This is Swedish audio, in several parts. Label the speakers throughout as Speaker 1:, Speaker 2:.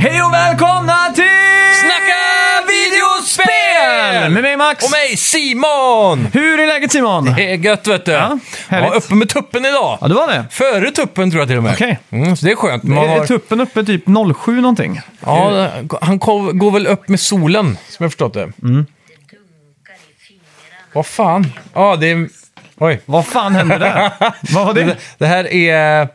Speaker 1: Hej och välkomna till
Speaker 2: Snacka videospel!
Speaker 1: Med mig Max!
Speaker 2: Och mig, Simon!
Speaker 1: Hur är läget Simon?
Speaker 2: Det är gött vet du.
Speaker 1: Ja,
Speaker 2: Ja,
Speaker 1: härligt.
Speaker 2: uppe med tuppen idag.
Speaker 1: Ja, det var det.
Speaker 2: Före tuppen tror jag till och med.
Speaker 1: Okej.
Speaker 2: Mm, så det är skönt. Man
Speaker 1: Är, är
Speaker 2: har-
Speaker 1: tuppen uppe typ 07 någonting?
Speaker 2: ja, han ko- går väl upp med solen, som jag förstått det.
Speaker 1: Mm.
Speaker 2: Vad fan? Ja, det är... Oj.
Speaker 1: Vad fan hände där? Vad var det?
Speaker 2: Det här är... eh,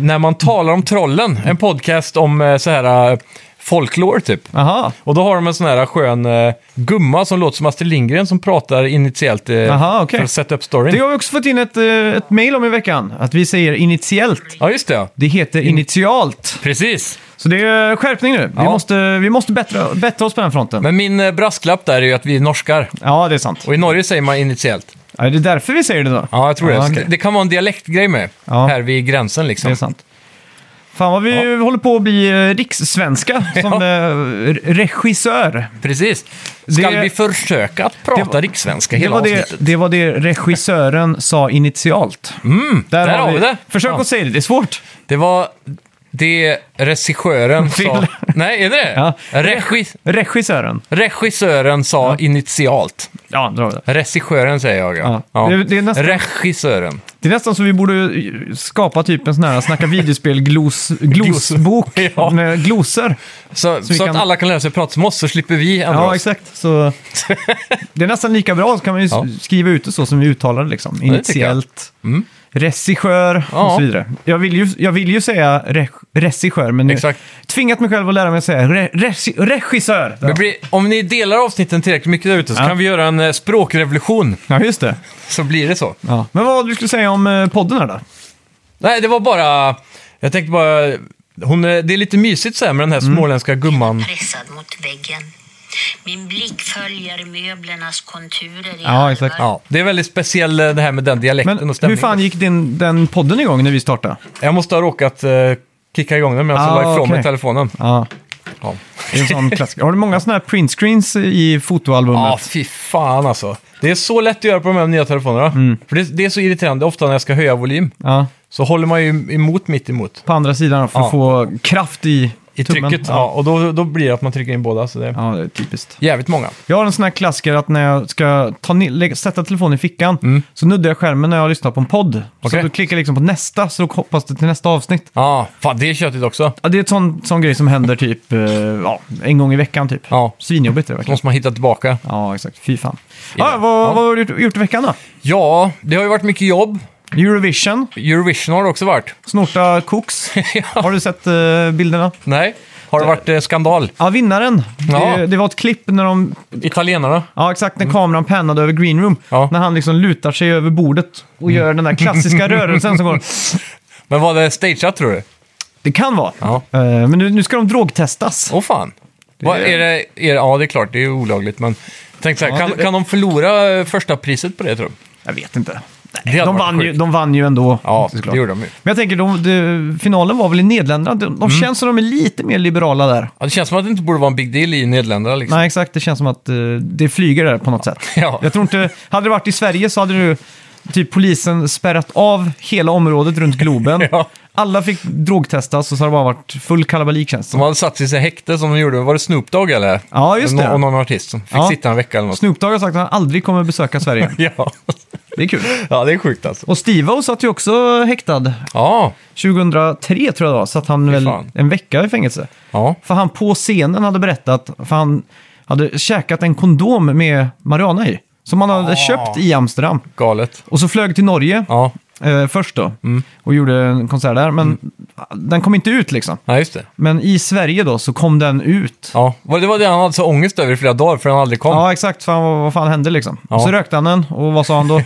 Speaker 2: När man talar om trollen, en podcast om eh, så här eh, folklore typ.
Speaker 1: Jaha,
Speaker 2: Och då har de en sån här skön eh, gumma som låter som Astrid Lindgren som pratar initiellt eh,
Speaker 1: Aha, okej.
Speaker 2: för att sätta upp storyn.
Speaker 1: det har vi också fått in ett, eh, ett mail om i veckan. Att vi säger initiellt.
Speaker 2: Ja, just det. ja.
Speaker 1: Det heter initialt.
Speaker 2: Precis.
Speaker 1: Så det är skärpning nu. Vi
Speaker 2: Ja.
Speaker 1: måste, vi måste bättra, bättra oss på den fronten.
Speaker 2: Men min eh, brasklapp där är ju att vi är norskar.
Speaker 1: Ja, det är sant.
Speaker 2: Och i Norge säger man initiellt.
Speaker 1: Ja, det är därför vi säger det då.
Speaker 2: Ja, jag tror det.
Speaker 1: okej.
Speaker 2: Det kan vara en dialektgrej med.
Speaker 1: Ja.
Speaker 2: Här vid gränsen
Speaker 1: Det är
Speaker 2: liksom.
Speaker 1: sant. Fan vad vi håller på att bli eh, rikssvenska som eh, regissör.
Speaker 2: Precis. Ska
Speaker 1: Det-
Speaker 2: vi försöka att prata rikssvenska
Speaker 1: Det
Speaker 2: hela
Speaker 1: var det,
Speaker 2: avsnittet?
Speaker 1: det var det regissören sa initialt. där
Speaker 2: Mm, har vi det.
Speaker 1: Försök
Speaker 2: Ja.
Speaker 1: att säga det, det är svårt.
Speaker 2: Det var det regissören sa...
Speaker 1: Fel.
Speaker 2: Nej, är det det?
Speaker 1: Ja.
Speaker 2: Regi...
Speaker 1: Regissören.
Speaker 2: Regissören sa initialt.
Speaker 1: Ja, dra det.
Speaker 2: Regissören säger jag, ja.
Speaker 1: Ja.
Speaker 2: ja.
Speaker 1: Det- det är nästan-
Speaker 2: Regissören.
Speaker 1: det är nästan så vi borde eh, skapa typ en sån här snacka videospel-glosbok
Speaker 2: Ja.
Speaker 1: med gloser.
Speaker 2: Så, så,
Speaker 1: vi
Speaker 2: att
Speaker 1: kan-
Speaker 2: alla kan lära sig prata som oss, så slipper vi ändra
Speaker 1: Ja,
Speaker 2: oss.
Speaker 1: exakt. Så, det är nästan lika bra, så kan man ju s-
Speaker 2: Ja.
Speaker 1: skriva ut det så som vi uttalar det. Liksom.
Speaker 2: det tycker jag. Mm.
Speaker 1: Initiellt, regissör
Speaker 2: Ja.
Speaker 1: och så vidare. Jag vill ju, jag vill ju säga re, regissör, men nu-
Speaker 2: Exakt.
Speaker 1: tvingat mig själv att lära mig att säga re, regi- regissör.
Speaker 2: Men blir, om ni delar avsnitten tillräckligt mycket där ute så
Speaker 1: Ja.
Speaker 2: kan vi göra en eh, språkrevolution.
Speaker 1: Ja, just det.
Speaker 2: Så blir det så.
Speaker 1: Ja. Men vad var det du skulle säga om eh, podden här då?
Speaker 2: Nej, det var bara... Jag tänkte bara... Hon, eh, det är lite mysigt så här med den här
Speaker 1: Mm.
Speaker 2: småländska gumman.
Speaker 3: pressad mot väggen. Min blick följer möblernas konturer i
Speaker 1: Ja, exakt.
Speaker 3: halva
Speaker 2: Ja, det är väldigt speciell eh, det här med den dialekten
Speaker 1: Men
Speaker 2: och
Speaker 1: hur
Speaker 2: stämningen.
Speaker 1: fan gick din, den podden igång när vi startade?
Speaker 2: Jag måste ha råkat eh, kicka igång den medan jag
Speaker 1: Ah,
Speaker 2: la ifrån
Speaker 1: okej.
Speaker 2: mig telefonen.
Speaker 1: Ja,
Speaker 2: Ja,
Speaker 1: det är en sån klassiker. Har du många såna här printscreens i fotoalbumet?
Speaker 2: ah, fy fan alltså. Det är så lätt att göra på de här nya telefonerna.
Speaker 1: Mm.
Speaker 2: För det, det är så irriterande ofta när jag ska höja volym.
Speaker 1: Ja,
Speaker 2: Så håller man ju emot mitt emot
Speaker 1: på andra sidan för att
Speaker 2: Ja.
Speaker 1: få kraft i,
Speaker 2: i
Speaker 1: tummen.
Speaker 2: trycket. Ja, och då, då blir det att man trycker in båda. Så det är
Speaker 1: ja, det är typiskt.
Speaker 2: jävligt många.
Speaker 1: Jag har en sån här klassiker att när jag ska ta ni- lägga- sätta telefonen i fickan så nuddar jag skärmen när jag lyssnar på en podd.
Speaker 2: Mm. Okej.
Speaker 1: Så då klickar jag liksom på nästa så då hoppas det till nästa avsnitt.
Speaker 2: Ja, fan det är köttigt också.
Speaker 1: Ja, det är en sån, sån grej som händer typ eh, ja, en gång i veckan typ.
Speaker 2: Ja.
Speaker 1: Svinjobbigt är det verkligen.
Speaker 2: Måste man hitta tillbaka.
Speaker 1: Ja, exakt. Fy fan.
Speaker 2: Ja.
Speaker 1: Ja, vad, vad har du gjort, gjort i veckan då?
Speaker 2: Ja, det har ju varit mycket jobb.
Speaker 1: Eurovision,
Speaker 2: Eurovision har det också varit.
Speaker 1: snorta koks. Har du sett eh, bilderna?
Speaker 2: Nej, har det varit eh, skandal?
Speaker 1: Ja, vinnaren. Det,
Speaker 2: Ja.
Speaker 1: det var ett klipp när de...
Speaker 2: Italienarna?
Speaker 1: Ja, exakt. När kameran pannade över green room.
Speaker 2: Ja. Mm.
Speaker 1: När han liksom lutar sig över bordet och gör den där klassiska rörelsen som går...
Speaker 2: Men var det stageat tror du?
Speaker 1: Det kan vara.
Speaker 2: Ja.
Speaker 1: Eh, Men nu, nu ska de drogtestas.
Speaker 2: Åh fan. Vad är det, är det, ja, det är klart, det är ju olagligt, men tänk så här,
Speaker 1: Ja,
Speaker 2: kan,
Speaker 1: det-
Speaker 2: kan de förlora eh, första priset på det tror du?
Speaker 1: Jag vet inte.
Speaker 2: Det hade
Speaker 1: De
Speaker 2: varit
Speaker 1: vann, ju,
Speaker 2: sjukt.
Speaker 1: de vann ju ändå.
Speaker 2: Ja,
Speaker 1: såklart.
Speaker 2: det gjorde de ju. Mm.
Speaker 1: Men jag tänker, de, de, finalen var väl i Nederländerna. De, de känns som de är lite mer liberala där.
Speaker 2: Ja, det känns som att det inte borde vara en big deal i Nederländerna liksom.
Speaker 1: Nej, exakt. Det känns som att eh, det flyger där på något sätt.
Speaker 2: Ja.
Speaker 1: Jag tror inte... Hade det varit i Sverige så hade du typ polisen spärrat av hela området runt Globen.
Speaker 2: Ja.
Speaker 1: Alla fick drogtestas och så har det bara varit full kalabalik känns det
Speaker 2: De
Speaker 1: som.
Speaker 2: hade satt sig i sig häkte som de gjorde, var det Snoop Dogg eller?
Speaker 1: Ja, just det.
Speaker 2: Nå- Och någon artist som fick
Speaker 1: Ja.
Speaker 2: sitta en vecka eller något.
Speaker 1: Snoop Dogg har sagt att han aldrig kommer besöka Sverige.
Speaker 2: Ja.
Speaker 1: Det är kul.
Speaker 2: ja, det är sjukt alltså.
Speaker 1: Och Steve satt ju också häktad
Speaker 2: Ja,
Speaker 1: 2003 tror jag det var, satt han väl
Speaker 2: fan.
Speaker 1: en vecka i fängelse.
Speaker 2: ja.
Speaker 1: För han på scenen hade berättat, för han hade käkat en kondom med marijuana i. Som han hade
Speaker 2: Ah.
Speaker 1: köpt i Amsterdam.
Speaker 2: galet.
Speaker 1: Och så flög till Norge
Speaker 2: Ja, Mm.
Speaker 1: eh, först då. Och gjorde en konsert där, men den kom inte ut liksom.
Speaker 2: ja just det.
Speaker 1: Men i Sverige då så kom den ut. Ja,
Speaker 2: Ja, var- det var det han hade så ångest över i flera dagar för han aldrig kom.
Speaker 1: exakt, fan, vad, vad fan hände liksom?
Speaker 2: Ja.
Speaker 1: Och så rökte han den, och vad sa han då?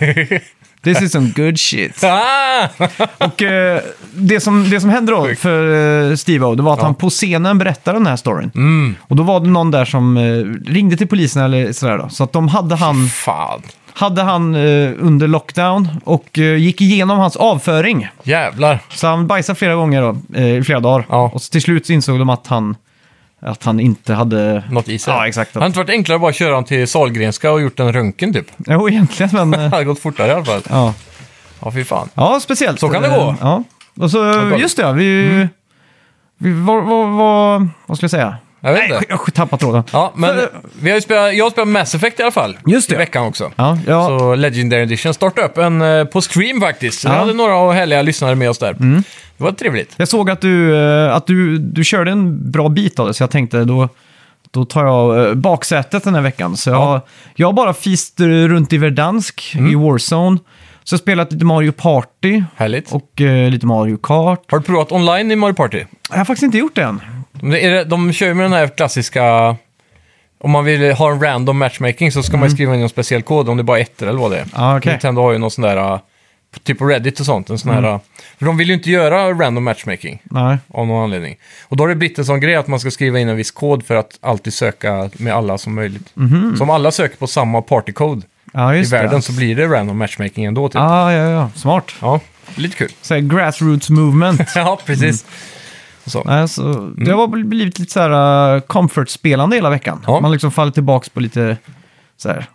Speaker 1: This is some good shit.
Speaker 2: Ah!
Speaker 1: Och eh, det, som, det som hände då för eh, Steve-O, det var att han på scenen berättade den här storyn.
Speaker 2: Mm.
Speaker 1: Och då var det någon där som eh, ringde till polisen eller sådär då. Så att de hade han,
Speaker 2: Fan.
Speaker 1: hade han eh, under lockdown och eh, gick igenom hans avföring.
Speaker 2: Jävlar.
Speaker 1: Så han bajsade flera gånger då, eh, i flera dagar.
Speaker 2: Ja.
Speaker 1: Och så till slut så insåg de att han, att han inte hade...
Speaker 2: Något i sig.
Speaker 1: Ja, exakt.
Speaker 2: Hade inte varit enklare att bara köra honom till Sahlgrenska och gjort en röntgen typ?
Speaker 1: Jo, egentligen, men...
Speaker 2: Det
Speaker 1: Eh,
Speaker 2: hade gått fortare i alla fall.
Speaker 1: ja.
Speaker 2: Ja, fy fan.
Speaker 1: ja, speciellt.
Speaker 2: Så kan det
Speaker 1: Eh,
Speaker 2: gå.
Speaker 1: Ja. Och så,
Speaker 2: galet.
Speaker 1: just det, ja, vi... Vad, vad, vad, vad ska jag säga?
Speaker 2: Jag vet
Speaker 1: Nej,
Speaker 2: inte.
Speaker 1: jag har tappat tråden.
Speaker 2: Ja, men
Speaker 1: För-
Speaker 2: vi har ju spelat, jag har spelat Mass Effect i alla fall.
Speaker 1: Just
Speaker 2: I
Speaker 1: det.
Speaker 2: veckan också.
Speaker 1: Ja, ja.
Speaker 2: Så Legendary Edition startade upp en eh, på stream faktiskt. Så Vi
Speaker 1: Ja. Mm.
Speaker 2: hade några av härliga lyssnare med oss där. Det var trevligt.
Speaker 1: Jag såg att du, eh, att du, du körde en bra bit av det, så jag tänkte då, då tar jag eh, baksätet den här veckan. Så jag, har- jag har bara fist eh, runt i Verdansk, i Warzone. Så jag har spelat lite Mario Party
Speaker 2: Mm. Härligt.
Speaker 1: och eh, lite Mario Kart.
Speaker 2: Har du provat online i Mario Party?
Speaker 1: Jag har faktiskt inte gjort det än.
Speaker 2: Det är det- De kör ju med den här klassiska... Om man vill ha en random matchmaking så ska man ju skriva in en speciell kod om det är bara är ettor eller vad det är.
Speaker 1: Ja, Mm. Ah, okej. Mm.
Speaker 2: Nintendo har ju någon sån där, uh, typ på Reddit och sånt, en sån här... uh, För de vill ju inte göra random matchmaking
Speaker 1: Nej.
Speaker 2: av någon anledning. Och då har det blivit en sån grej att man ska skriva in en viss kod för att alltid söka med alla som möjligt. Så om alla söker på samma partycode
Speaker 1: Ja,
Speaker 2: i
Speaker 1: Mhm. just
Speaker 2: världen
Speaker 1: det.
Speaker 2: så blir det random matchmaking ändå. Typ.
Speaker 1: Ah, ja, ja, smart.
Speaker 2: Ja, lite kul.
Speaker 1: Så här, grassroots movement.
Speaker 2: ja, precis. Så.
Speaker 1: Nej, så Det
Speaker 2: Mm.
Speaker 1: har väl blivit lite så här uh, comfort-spelande hela veckan.
Speaker 2: Ja.
Speaker 1: Man liksom faller tillbaka på lite så här,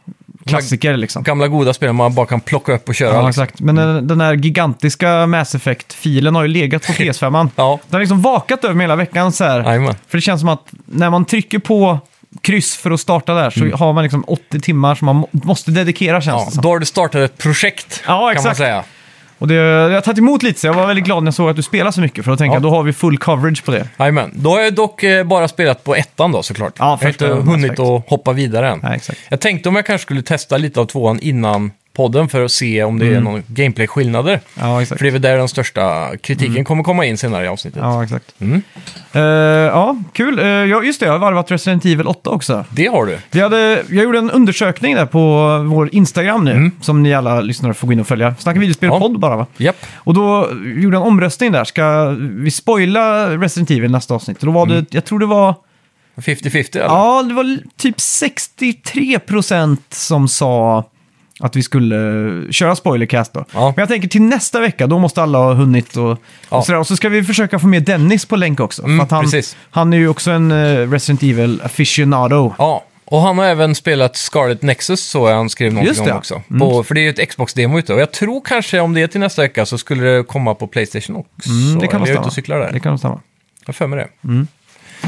Speaker 1: klassiker liksom.
Speaker 2: Gamla goda spel man bara kan plocka upp och köra.
Speaker 1: Ja,
Speaker 2: liksom.
Speaker 1: exakt. Men den, den här gigantiska Mass Effect-filen har ju legat på PS5.
Speaker 2: Ja.
Speaker 1: Den har liksom vakat över mig hela veckan. Så här.
Speaker 2: Jajamän.
Speaker 1: För det känns som att när man trycker på kryss för att starta där så har man liksom 80 timmar som man må- måste dedikera känns
Speaker 2: Mm. Ja,
Speaker 1: det som.
Speaker 2: då har du startat ett projekt,
Speaker 1: Ja,
Speaker 2: kan man
Speaker 1: exakt.
Speaker 2: säga.
Speaker 1: Och det, jag har tagit emot lite så jag var väldigt glad när jag såg att du spelade så mycket för då tänkte
Speaker 2: Ja.
Speaker 1: jag då har vi full coverage på det.
Speaker 2: Jajamän. Då har jag dock eh, bara spelat på ettan då såklart.
Speaker 1: Ja,
Speaker 2: jag har inte
Speaker 1: första
Speaker 2: hunnit
Speaker 1: aspekt.
Speaker 2: att hoppa vidare än.
Speaker 1: Nej, exakt.
Speaker 2: Jag tänkte om jag kanske skulle testa lite av tvåan innan podden för att se om det är någon gameplay-skillnader.
Speaker 1: Mm. Ja, exakt. Mm.
Speaker 2: För det är väl där den största kritiken kommer komma in senare i avsnittet.
Speaker 1: Ja, exakt. Eh, ja, kul. Eh, ja, just det, jag har varvat Resident Evil 8 också.
Speaker 2: Det har du.
Speaker 1: Vi hade, jag gjorde en undersökning där på vår Instagram nu, som ni alla lyssnare får gå in och följa. Snacka videospel
Speaker 2: Ja.
Speaker 1: podd bara va?
Speaker 2: Japp.
Speaker 1: Och då gjorde jag en omröstning där, ska vi spoila Resident Evil nästa avsnitt? Och Då var det, jag tror det var,
Speaker 2: 50-50 eller?
Speaker 1: ja det var l- typ 63% som sa att vi skulle eh, köra spoilercast då.
Speaker 2: Ja.
Speaker 1: Men jag tänker till nästa vecka, då måste alla ha hunnit och,
Speaker 2: Ja.
Speaker 1: och sådär. Och så ska vi försöka få med Dennis på länk också.
Speaker 2: Mm,
Speaker 1: för att han,
Speaker 2: precis.
Speaker 1: han är ju också en eh, Resident Evil aficionado.
Speaker 2: Ja, och han har även spelat Scarlet Nexus, så han skrev någonting
Speaker 1: Just det. Mm.
Speaker 2: om också. På, för det är ju ett Xbox-demo ute, och jag tror kanske om det är till nästa vecka så skulle det komma på Playstation också.
Speaker 1: Mm, det kan nog
Speaker 2: eller jag är ute
Speaker 1: stämma.
Speaker 2: och cyklar där.
Speaker 1: Det kan nog stämma.
Speaker 2: Jag har för mig det.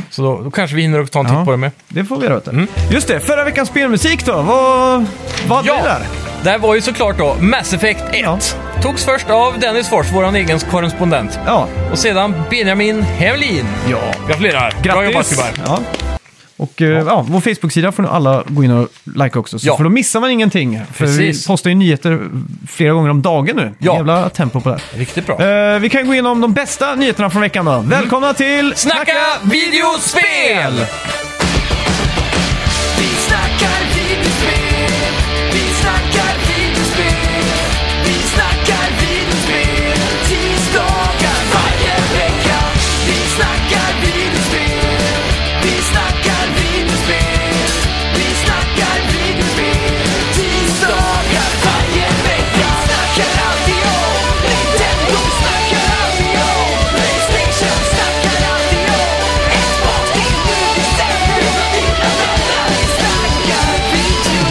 Speaker 2: Så då, då kanske vi hinner och ta en
Speaker 1: Mm. Ja.
Speaker 2: titt på det med.
Speaker 1: Det får vi göra. vet du.
Speaker 2: Mm.
Speaker 1: Just det, förra veckans spelmusik då. Vad, vad hade vi där?
Speaker 2: det här var ju såklart då Mass Effect 1.
Speaker 1: Ja.
Speaker 2: Togs först av Dennis Fors, vår egen korrespondent.
Speaker 1: Ja.
Speaker 2: Och sedan Benjamin Hevlin.
Speaker 1: ja.
Speaker 2: Gratulerar! Bra jobbat
Speaker 1: Grattis!
Speaker 2: gubbar!
Speaker 1: Ja. Och eh, ja, vår Facebook-sida får nu alla gå in och like också, så
Speaker 2: Ja.
Speaker 1: för då missar man ingenting. För
Speaker 2: Precis.
Speaker 1: vi postar ju nyheter flera gånger om dagen nu.
Speaker 2: Ja.
Speaker 1: Jävla tempo på det här.
Speaker 2: Riktigt bra.
Speaker 1: Eh, vi kan gå igenom de bästa nyheterna från veckan då. Välkomna till
Speaker 2: Mm. Snacka videospel!
Speaker 4: Vi snackar videospel, vi snackar videospel, vi snackar videospel, tisdagar varje vecka. Vi snackar videospel, vi snackar videospel, vi snackar videospel, tisdagar varje vecka. Snackar alltid om Nintendo, snackar alltid om Playstation, snackar alltid om Xbox, det är nu vi sänder, dina vänner, vi snackar video.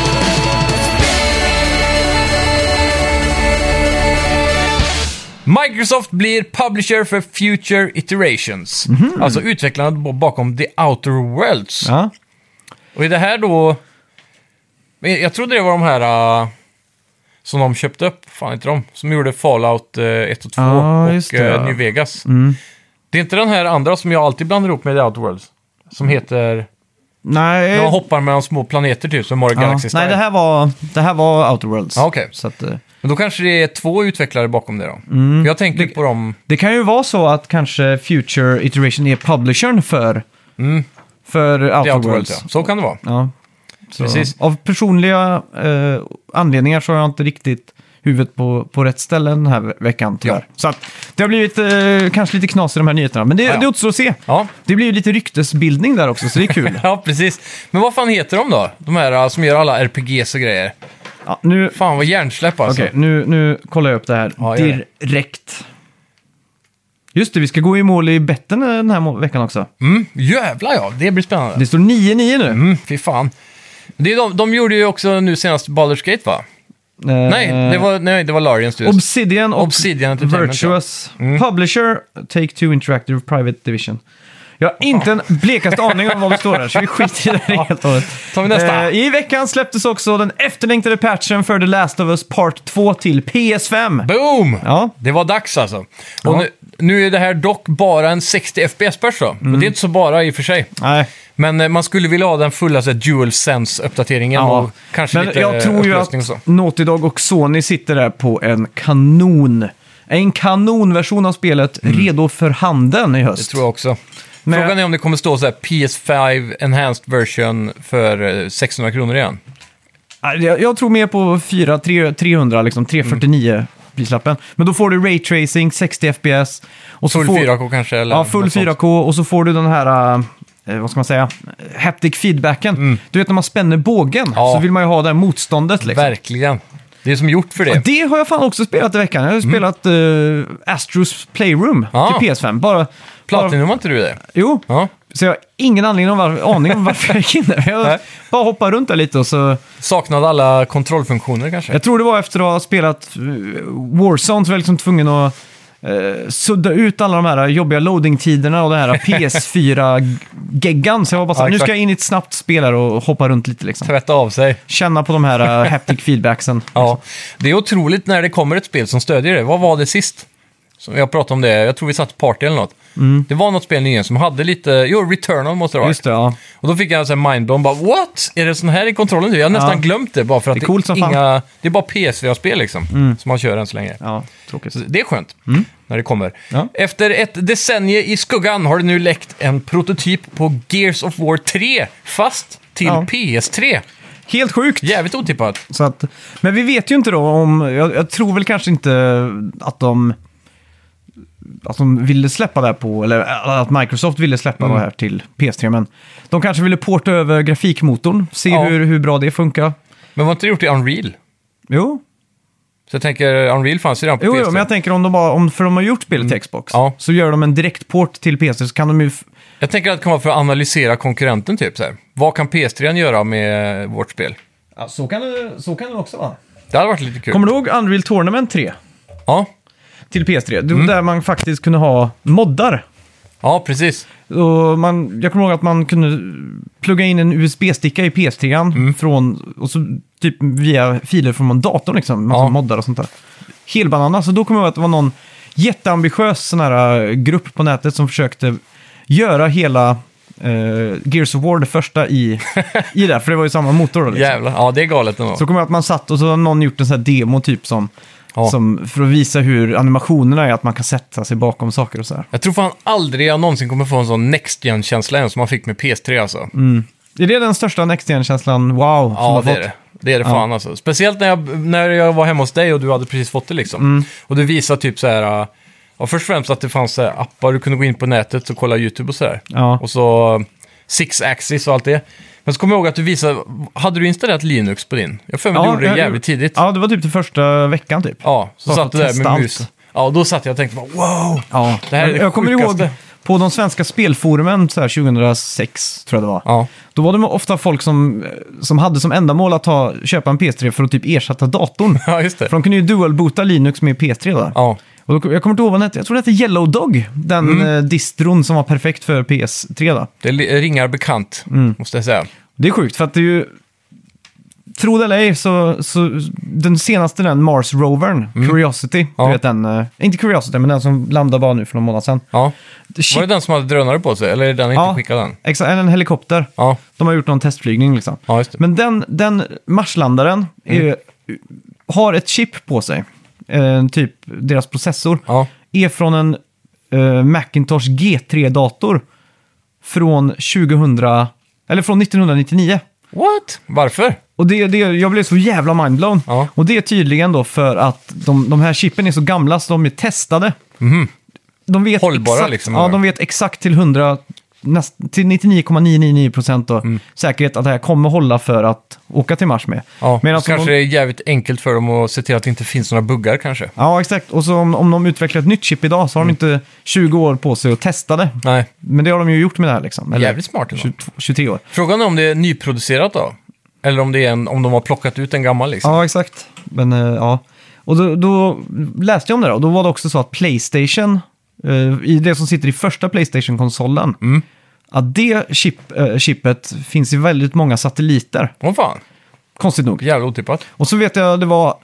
Speaker 2: Microsoft blir publisher för Future Iterations. Alltså utvecklarna b- bakom The Outer Worlds.
Speaker 1: Mhm. Ja.
Speaker 2: Och är det här då... Men Jag trodde det var de här äh, som de köpte upp, fan inte de, som gjorde Fallout äh, 1 och 2
Speaker 1: Ja, just
Speaker 2: och
Speaker 1: det,
Speaker 2: äh,
Speaker 1: ja. Mm.
Speaker 2: New Vegas. Det är inte den här andra som jag alltid blandar ihop med The Outer Worlds. Som heter...
Speaker 1: Nej,
Speaker 2: När man hoppar mellan små planeter typ, som Mario
Speaker 1: Eh. ja.
Speaker 2: Galaxy Style.
Speaker 1: Nej det, här var, det här var Outer Worlds.
Speaker 2: Ja, Ah, okej.
Speaker 1: Så att, eh,
Speaker 2: Men då kanske det är två utvecklare bakom det då. För Jag tänker på dem...
Speaker 1: Mm. Det kan ju vara så att kanske Future Iteration är publishern för, för
Speaker 2: The
Speaker 1: Outer,
Speaker 2: Mm.
Speaker 1: Worlds.
Speaker 2: Outer Worlds, ja. Så kan det vara.
Speaker 1: Ja. Så
Speaker 2: Precis.
Speaker 1: Av personliga eh, anledningar så har jag inte riktigt huvudet på, på rätt ställe den här ve- veckan tyvärr. Så att det har blivit eh, kanske lite knas i de här nyheterna, men det,
Speaker 2: Ja, ja.
Speaker 1: det återstår att se.
Speaker 2: Ja.
Speaker 1: Det blir ju lite ryktesbildning där också, så det är kul.
Speaker 2: Ja, precis. Men vad fan heter de då? De här äh, som gör alla RPGs och grejer.
Speaker 1: ja, nu,
Speaker 2: Fan vad hjärnsläpp alltså.
Speaker 1: okej, nu, nu kollar jag upp det här
Speaker 2: Ja, gör
Speaker 1: direkt. Just det, vi ska gå i mål i betten eh, den här må- veckan också.
Speaker 2: Mm, jävlar ja, det blir spännande.
Speaker 1: Det står 9-9 nu.
Speaker 2: Mm, fy fan. Det är de, de gjorde ju också nu senast Baldur's Gate va? Nej,
Speaker 1: Eh.
Speaker 2: det var, nej, det var Larian Studios.
Speaker 1: Obsidian och
Speaker 2: Obsidian Entertainment, Mm.
Speaker 1: Virtuous. Publisher, Take-Two Interactive Private Division. Jag har inte en blekaste aning om vad vi står här, så vi skiter i det här helt och hållet.
Speaker 2: Tar vi nästa.
Speaker 1: Eh, I veckan släpptes också den efterlängtade patchen för The Last of Us Part 2 till PS5.
Speaker 2: Boom!
Speaker 1: Ja.
Speaker 2: Det var dags alltså. Och
Speaker 1: Ja.
Speaker 2: nu, nu är det här dock bara en 60 FPS-patch då. Men det är inte så bara i och för sig.
Speaker 1: Mm. Nej.
Speaker 2: Men eh, man skulle vilja ha den fulla så här, DualSense-uppdateringen och kanske
Speaker 1: Men
Speaker 2: lite eh,
Speaker 1: jag tror ju
Speaker 2: upplösning och så.
Speaker 1: att Naughty Dog och Sony sitter där på en kanon. En kanonversion av spelet redo för handen i
Speaker 2: Mm. Det
Speaker 1: höst.
Speaker 2: tror jag också.
Speaker 1: Men-
Speaker 2: Frågan är om det kommer stå så här PS5 Enhanced version för eh, 600 kronor igen.
Speaker 1: Nej, Jag, jag tror mer på 4, 3, 300, liksom 349 prislappen. Men då får du Ray Tracing, 60 FPS. Och så
Speaker 2: Full
Speaker 1: får,
Speaker 2: 4K kanske? Eller
Speaker 1: Ja, full
Speaker 2: något sånt.
Speaker 1: 4K och så får du den här, eh, vad ska man säga, haptic feedbacken. Du vet när man spänner bågen
Speaker 2: Mm. Ja.
Speaker 1: så vill man ju ha det här motståndet liksom.
Speaker 2: Verkligen. Det är som gjort för det.
Speaker 1: Det har jag fan också spelat i veckan. Jag har
Speaker 2: Mm.
Speaker 1: spelat eh, Astros Playroom
Speaker 2: Ja.
Speaker 1: till PS5. Bara, bara,
Speaker 2: Platinum var inte du det?
Speaker 1: jo,
Speaker 2: Ah. Ja.
Speaker 1: så jag har ingen aning om, var, aning om varför jag gick in där. Jag
Speaker 2: Nej.
Speaker 1: bara hoppar runt där lite och så...
Speaker 2: Saknade alla kontrollfunktioner kanske?
Speaker 1: Jag tror det var efter att ha spelat eh, Warzone så var jag liksom tvungen att eh, sudda ut alla de här jobbiga loading-tiderna och den här PS4-geggan. Så jag var bara så här,
Speaker 2: Ja,
Speaker 1: nu
Speaker 2: exakt.
Speaker 1: ska jag in i ett snabbt spel här och hoppa runt lite liksom.
Speaker 2: Tvätta av sig.
Speaker 1: Känna på de här eh, haptic feedbacksen.
Speaker 2: Ja, det är otroligt när det kommer ett spel som stödjer det. Vad var det sist? Som jag pratade om det, jag tror vi satt party eller något. Det var något spel nyligen som hade lite, jo, Returnal måste det vara.
Speaker 1: Mm. Just det, ja.
Speaker 2: Och då fick jag en sån här mindblown, bara what? Är det sån här i kontrollen nu? Jag har nästan glömt det bara för att
Speaker 1: Det är coolt som fan. Mm.
Speaker 2: inga, det är bara PS4-spel liksom, som man kör än så länge.
Speaker 1: Ja, tråkigt.
Speaker 2: Så det är skönt när det kommer.
Speaker 1: Mm. Ja.
Speaker 2: Efter ett decennium i skuggan har det nu läckt en prototyp på Gears of War 3, fast till
Speaker 1: Ja.
Speaker 2: PS3.
Speaker 1: Helt sjukt!
Speaker 2: Jävligt otippat.
Speaker 1: Så att, men vi vet ju inte då om, jag, jag tror väl kanske inte att de, att de ville släppa det här på, eller att Microsoft ville släppa
Speaker 2: Mm.
Speaker 1: det här till PS3, men de kanske ville porta över grafikmotorn, se
Speaker 2: Ja.
Speaker 1: hur, hur bra det funkar.
Speaker 2: Men var inte det gjort i Unreal?
Speaker 1: Jo,
Speaker 2: Så jag tänker, Unreal fanns ju redan på
Speaker 1: jo,
Speaker 2: PS3.
Speaker 1: jo men jag tänker om de bara, om, för de har gjort spelet till Xbox,
Speaker 2: Mm. Ja.
Speaker 1: så gör de en direktport till PS3 så kan de ju, f-
Speaker 2: Jag tänker att det kommer vara för att analysera konkurrenten typ så här. Vad kan PS3 göra med vårt spel?
Speaker 1: ja, så, kan det, så kan det också vara.
Speaker 2: Det hade varit lite kul.
Speaker 1: Kommer du ihåg Unreal Tournament 3?
Speaker 2: Ja.
Speaker 1: Till PS3, Det var
Speaker 2: Mm.
Speaker 1: där man faktiskt kunde ha moddar.
Speaker 2: ja, precis.
Speaker 1: Och man, jag kommer ihåg att man kunde plugga in en USB-sticka i PS3
Speaker 2: Mm.
Speaker 1: från, och så typ via filer från datorn liksom, massa
Speaker 2: Ja.
Speaker 1: moddar och sånt där. Helbanana, så då kommer jag ihåg att det var någon jätteambitiös sån här eh, grupp på nätet som försökte göra hela eh, Gears of War, det första i, i det, här, för det var ju samma motor då liksom.
Speaker 2: Jävlar. Ja, det är galet ändå.
Speaker 1: Så kommer jag ihåg att man satt och så har någon gjort en sån här demo typ som,
Speaker 2: Ja.
Speaker 1: som för att visa hur animationerna är, att man kan sätta sig bakom saker och så här.
Speaker 2: Jag tror fan aldrig jag någonsin kommer få en sån Next Gen-känsla än som man fick med PS3 alltså.
Speaker 1: Är det den största Next Gen-känslan, wow, som du
Speaker 2: Ja,
Speaker 1: har
Speaker 2: det är
Speaker 1: fått?
Speaker 2: det. Det är det fan alltså. Speciellt när jag, när jag var hemma hos dig och du hade precis fått det liksom.
Speaker 1: Mm.
Speaker 2: Och du visade typ så här... äh, Ja, först och främst att det fanns så här appar du kunde gå in på nätet och kolla YouTube och sådär.
Speaker 1: Ja.
Speaker 2: Och så äh, Six Axis och allt det. Men så kommer jag ihåg att du visade... Hade du installerat Linux på din? Jag har för mig du gjorde det
Speaker 1: jag-
Speaker 2: jävligt tidigt. Ja,
Speaker 1: Ja, det var typ den första veckan typ.
Speaker 2: så satt du där
Speaker 1: testa
Speaker 2: med
Speaker 1: allt.
Speaker 2: mus. Ja, och då satt jag och tänkte bara wow!
Speaker 1: Ja.
Speaker 2: Det här är det
Speaker 1: jag kommer
Speaker 2: sjukaste.
Speaker 1: ihåg på de svenska spelforumen så här 2006, tror jag det var.
Speaker 2: Ja,
Speaker 1: Då var det ofta folk som, eh, som hade som ändamål att ta, köpa en PS3 för att typ ersätta datorn.
Speaker 2: ja just det.
Speaker 1: För de kunde ju dualboota Linux med PS3 där.
Speaker 2: Ja.
Speaker 1: Och då, jag kommer inte ihåg vad den hette. Jag tror det hette Yellow Dog, den
Speaker 2: Mm.
Speaker 1: eh, distron som var perfekt för PS3. Då.
Speaker 2: Det li- ringar bekant,
Speaker 1: Mm.
Speaker 2: måste jag säga.
Speaker 1: Det är sjukt, för att det är ju... Tro det eller ej, så, så den senaste den Mars Rovern, Curiosity,
Speaker 2: Mm. Ja.
Speaker 1: du vet den, eh, inte Curiosity, men den som landade bara nu för någon månad sedan.
Speaker 2: Ja.
Speaker 1: Shit.
Speaker 2: Var det den som hade drönare på sig? Eller är den inte
Speaker 1: Ja.
Speaker 2: skickad än?
Speaker 1: Exakt, en helikopter.
Speaker 2: Ja.
Speaker 1: De har gjort någon testflygning liksom.
Speaker 2: Ja, just det. Mm.
Speaker 1: Men den, den marslandaren är, ju- har ett chip på sig, eh, typ deras processor,
Speaker 2: Ja.
Speaker 1: är från en eh, Macintosh G3-dator från 2000, eller från 1999.
Speaker 2: What? Varför?
Speaker 1: Och det, det, jag blev så jävla mindblown.
Speaker 2: Ja.
Speaker 1: Och det är tydligen då för att de, de här chippen är så gamla så de är testade. De vet
Speaker 2: Mhm. Hållbara
Speaker 1: exakt,
Speaker 2: liksom,
Speaker 1: Ja,
Speaker 2: eller?
Speaker 1: de vet exakt till 100, näst, till 99,999 procent då,
Speaker 2: Mm.
Speaker 1: säkerhet att det här kommer hålla för att åka till Mars med.
Speaker 2: Ja,
Speaker 1: Medan
Speaker 2: så kanske
Speaker 1: om
Speaker 2: det
Speaker 1: de,
Speaker 2: är jävligt enkelt för dem att se till att det inte finns några buggar kanske.
Speaker 1: Ja, exakt. Och så om, om de utvecklar ett nytt chip idag så har
Speaker 2: Mm.
Speaker 1: de inte 20 år på sig att testa det.
Speaker 2: Nej,
Speaker 1: Men det har de ju gjort med det här liksom. Eller
Speaker 2: jävligt smart ändå.
Speaker 1: 22, 23 år.
Speaker 2: Frågan är om det är nyproducerat då? Eller om, det är en, om de har plockat ut en gammal liksom.
Speaker 1: Ja, exakt. Men eh, ja. Och då, då läste jag om det då, och då var det också så att Playstation, eh, i det som sitter i första Playstation-konsolen,
Speaker 2: Mm.
Speaker 1: att det chip, eh, chippet finns i väldigt många satelliter,
Speaker 2: Åh fan,
Speaker 1: konstigt nog.
Speaker 2: jävla otippat.
Speaker 1: Och så vet jag, det var,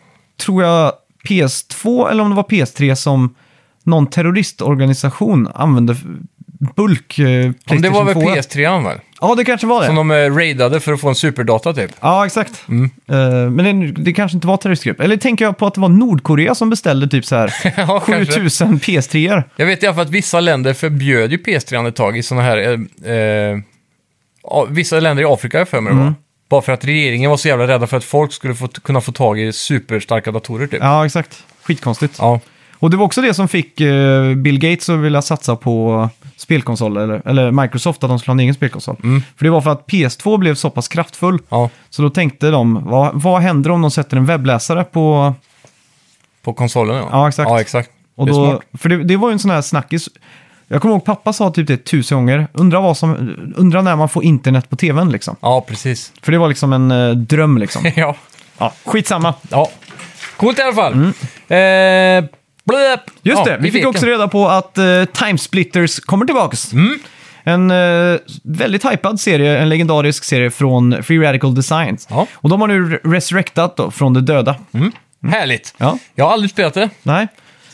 Speaker 1: tror jag, PS2 eller om det var PS3 som någon terroristorganisation använde f- bulk eh,
Speaker 2: Ja, Men det var väl
Speaker 1: Playstation 4.
Speaker 2: PS3 väl?
Speaker 1: Ja, det kanske var det.
Speaker 2: Som de eh, raidade för att få en superdata typ.
Speaker 1: Ja, exakt. Eh, men det, det kanske inte var terroristgrupp. Eller tänker jag på att det var Nordkorea som beställde typ så här
Speaker 2: Ja, kanske.
Speaker 1: 7000 PS3-er?
Speaker 2: Jag vet i alla fall att vissa länder förbjöd ju PS3 ett tag i sådana här... Eh, eh, ja, vissa länder i Afrika har jag för mig
Speaker 1: Mm.
Speaker 2: det var. Bara för att regeringen var så jävla rädda för att folk skulle få, kunna få tag i superstarka datorer typ.
Speaker 1: Ja, exakt. Skitkonstigt.
Speaker 2: Ja.
Speaker 1: Och det var också det som fick eh, Bill Gates att vilja satsa på spelkonsoler, eller, eller Microsoft, att de skulle ha en egen spelkonsol. För det var för att PS2 blev så pass kraftfull,
Speaker 2: Mm. ja.
Speaker 1: så då tänkte de, vad, vad händer om de sätter en webbläsare på...
Speaker 2: På konsolen ja.
Speaker 1: Ja, exakt.
Speaker 2: Ja, exakt.
Speaker 1: Och
Speaker 2: det är
Speaker 1: då,
Speaker 2: smart.
Speaker 1: för det, det var ju en sån här snackis. Jag kommer ihåg pappa sa typ det tusen gånger, undra, vad som, undra när man får internet på tvn liksom.
Speaker 2: Ja, precis.
Speaker 1: För det var liksom en eh, dröm liksom.
Speaker 2: ja.
Speaker 1: Ja, skitsamma.
Speaker 2: ja. Coolt i alla fall. Eh, blöp.
Speaker 1: Just
Speaker 2: ja,
Speaker 1: det, vi fick
Speaker 2: vet
Speaker 1: också
Speaker 2: det.
Speaker 1: reda på att eh, Timesplitters kommer tillbaks.
Speaker 2: Mm.
Speaker 1: En eh, väldigt hypad serie, en legendarisk serie från Free Radical Designs.
Speaker 2: Ja. Mm.
Speaker 1: Och de har nu re- resurrectat då, från de döda.
Speaker 2: Härligt.
Speaker 1: Mm. Ja.
Speaker 2: Jag har aldrig spelat det.
Speaker 1: Nej.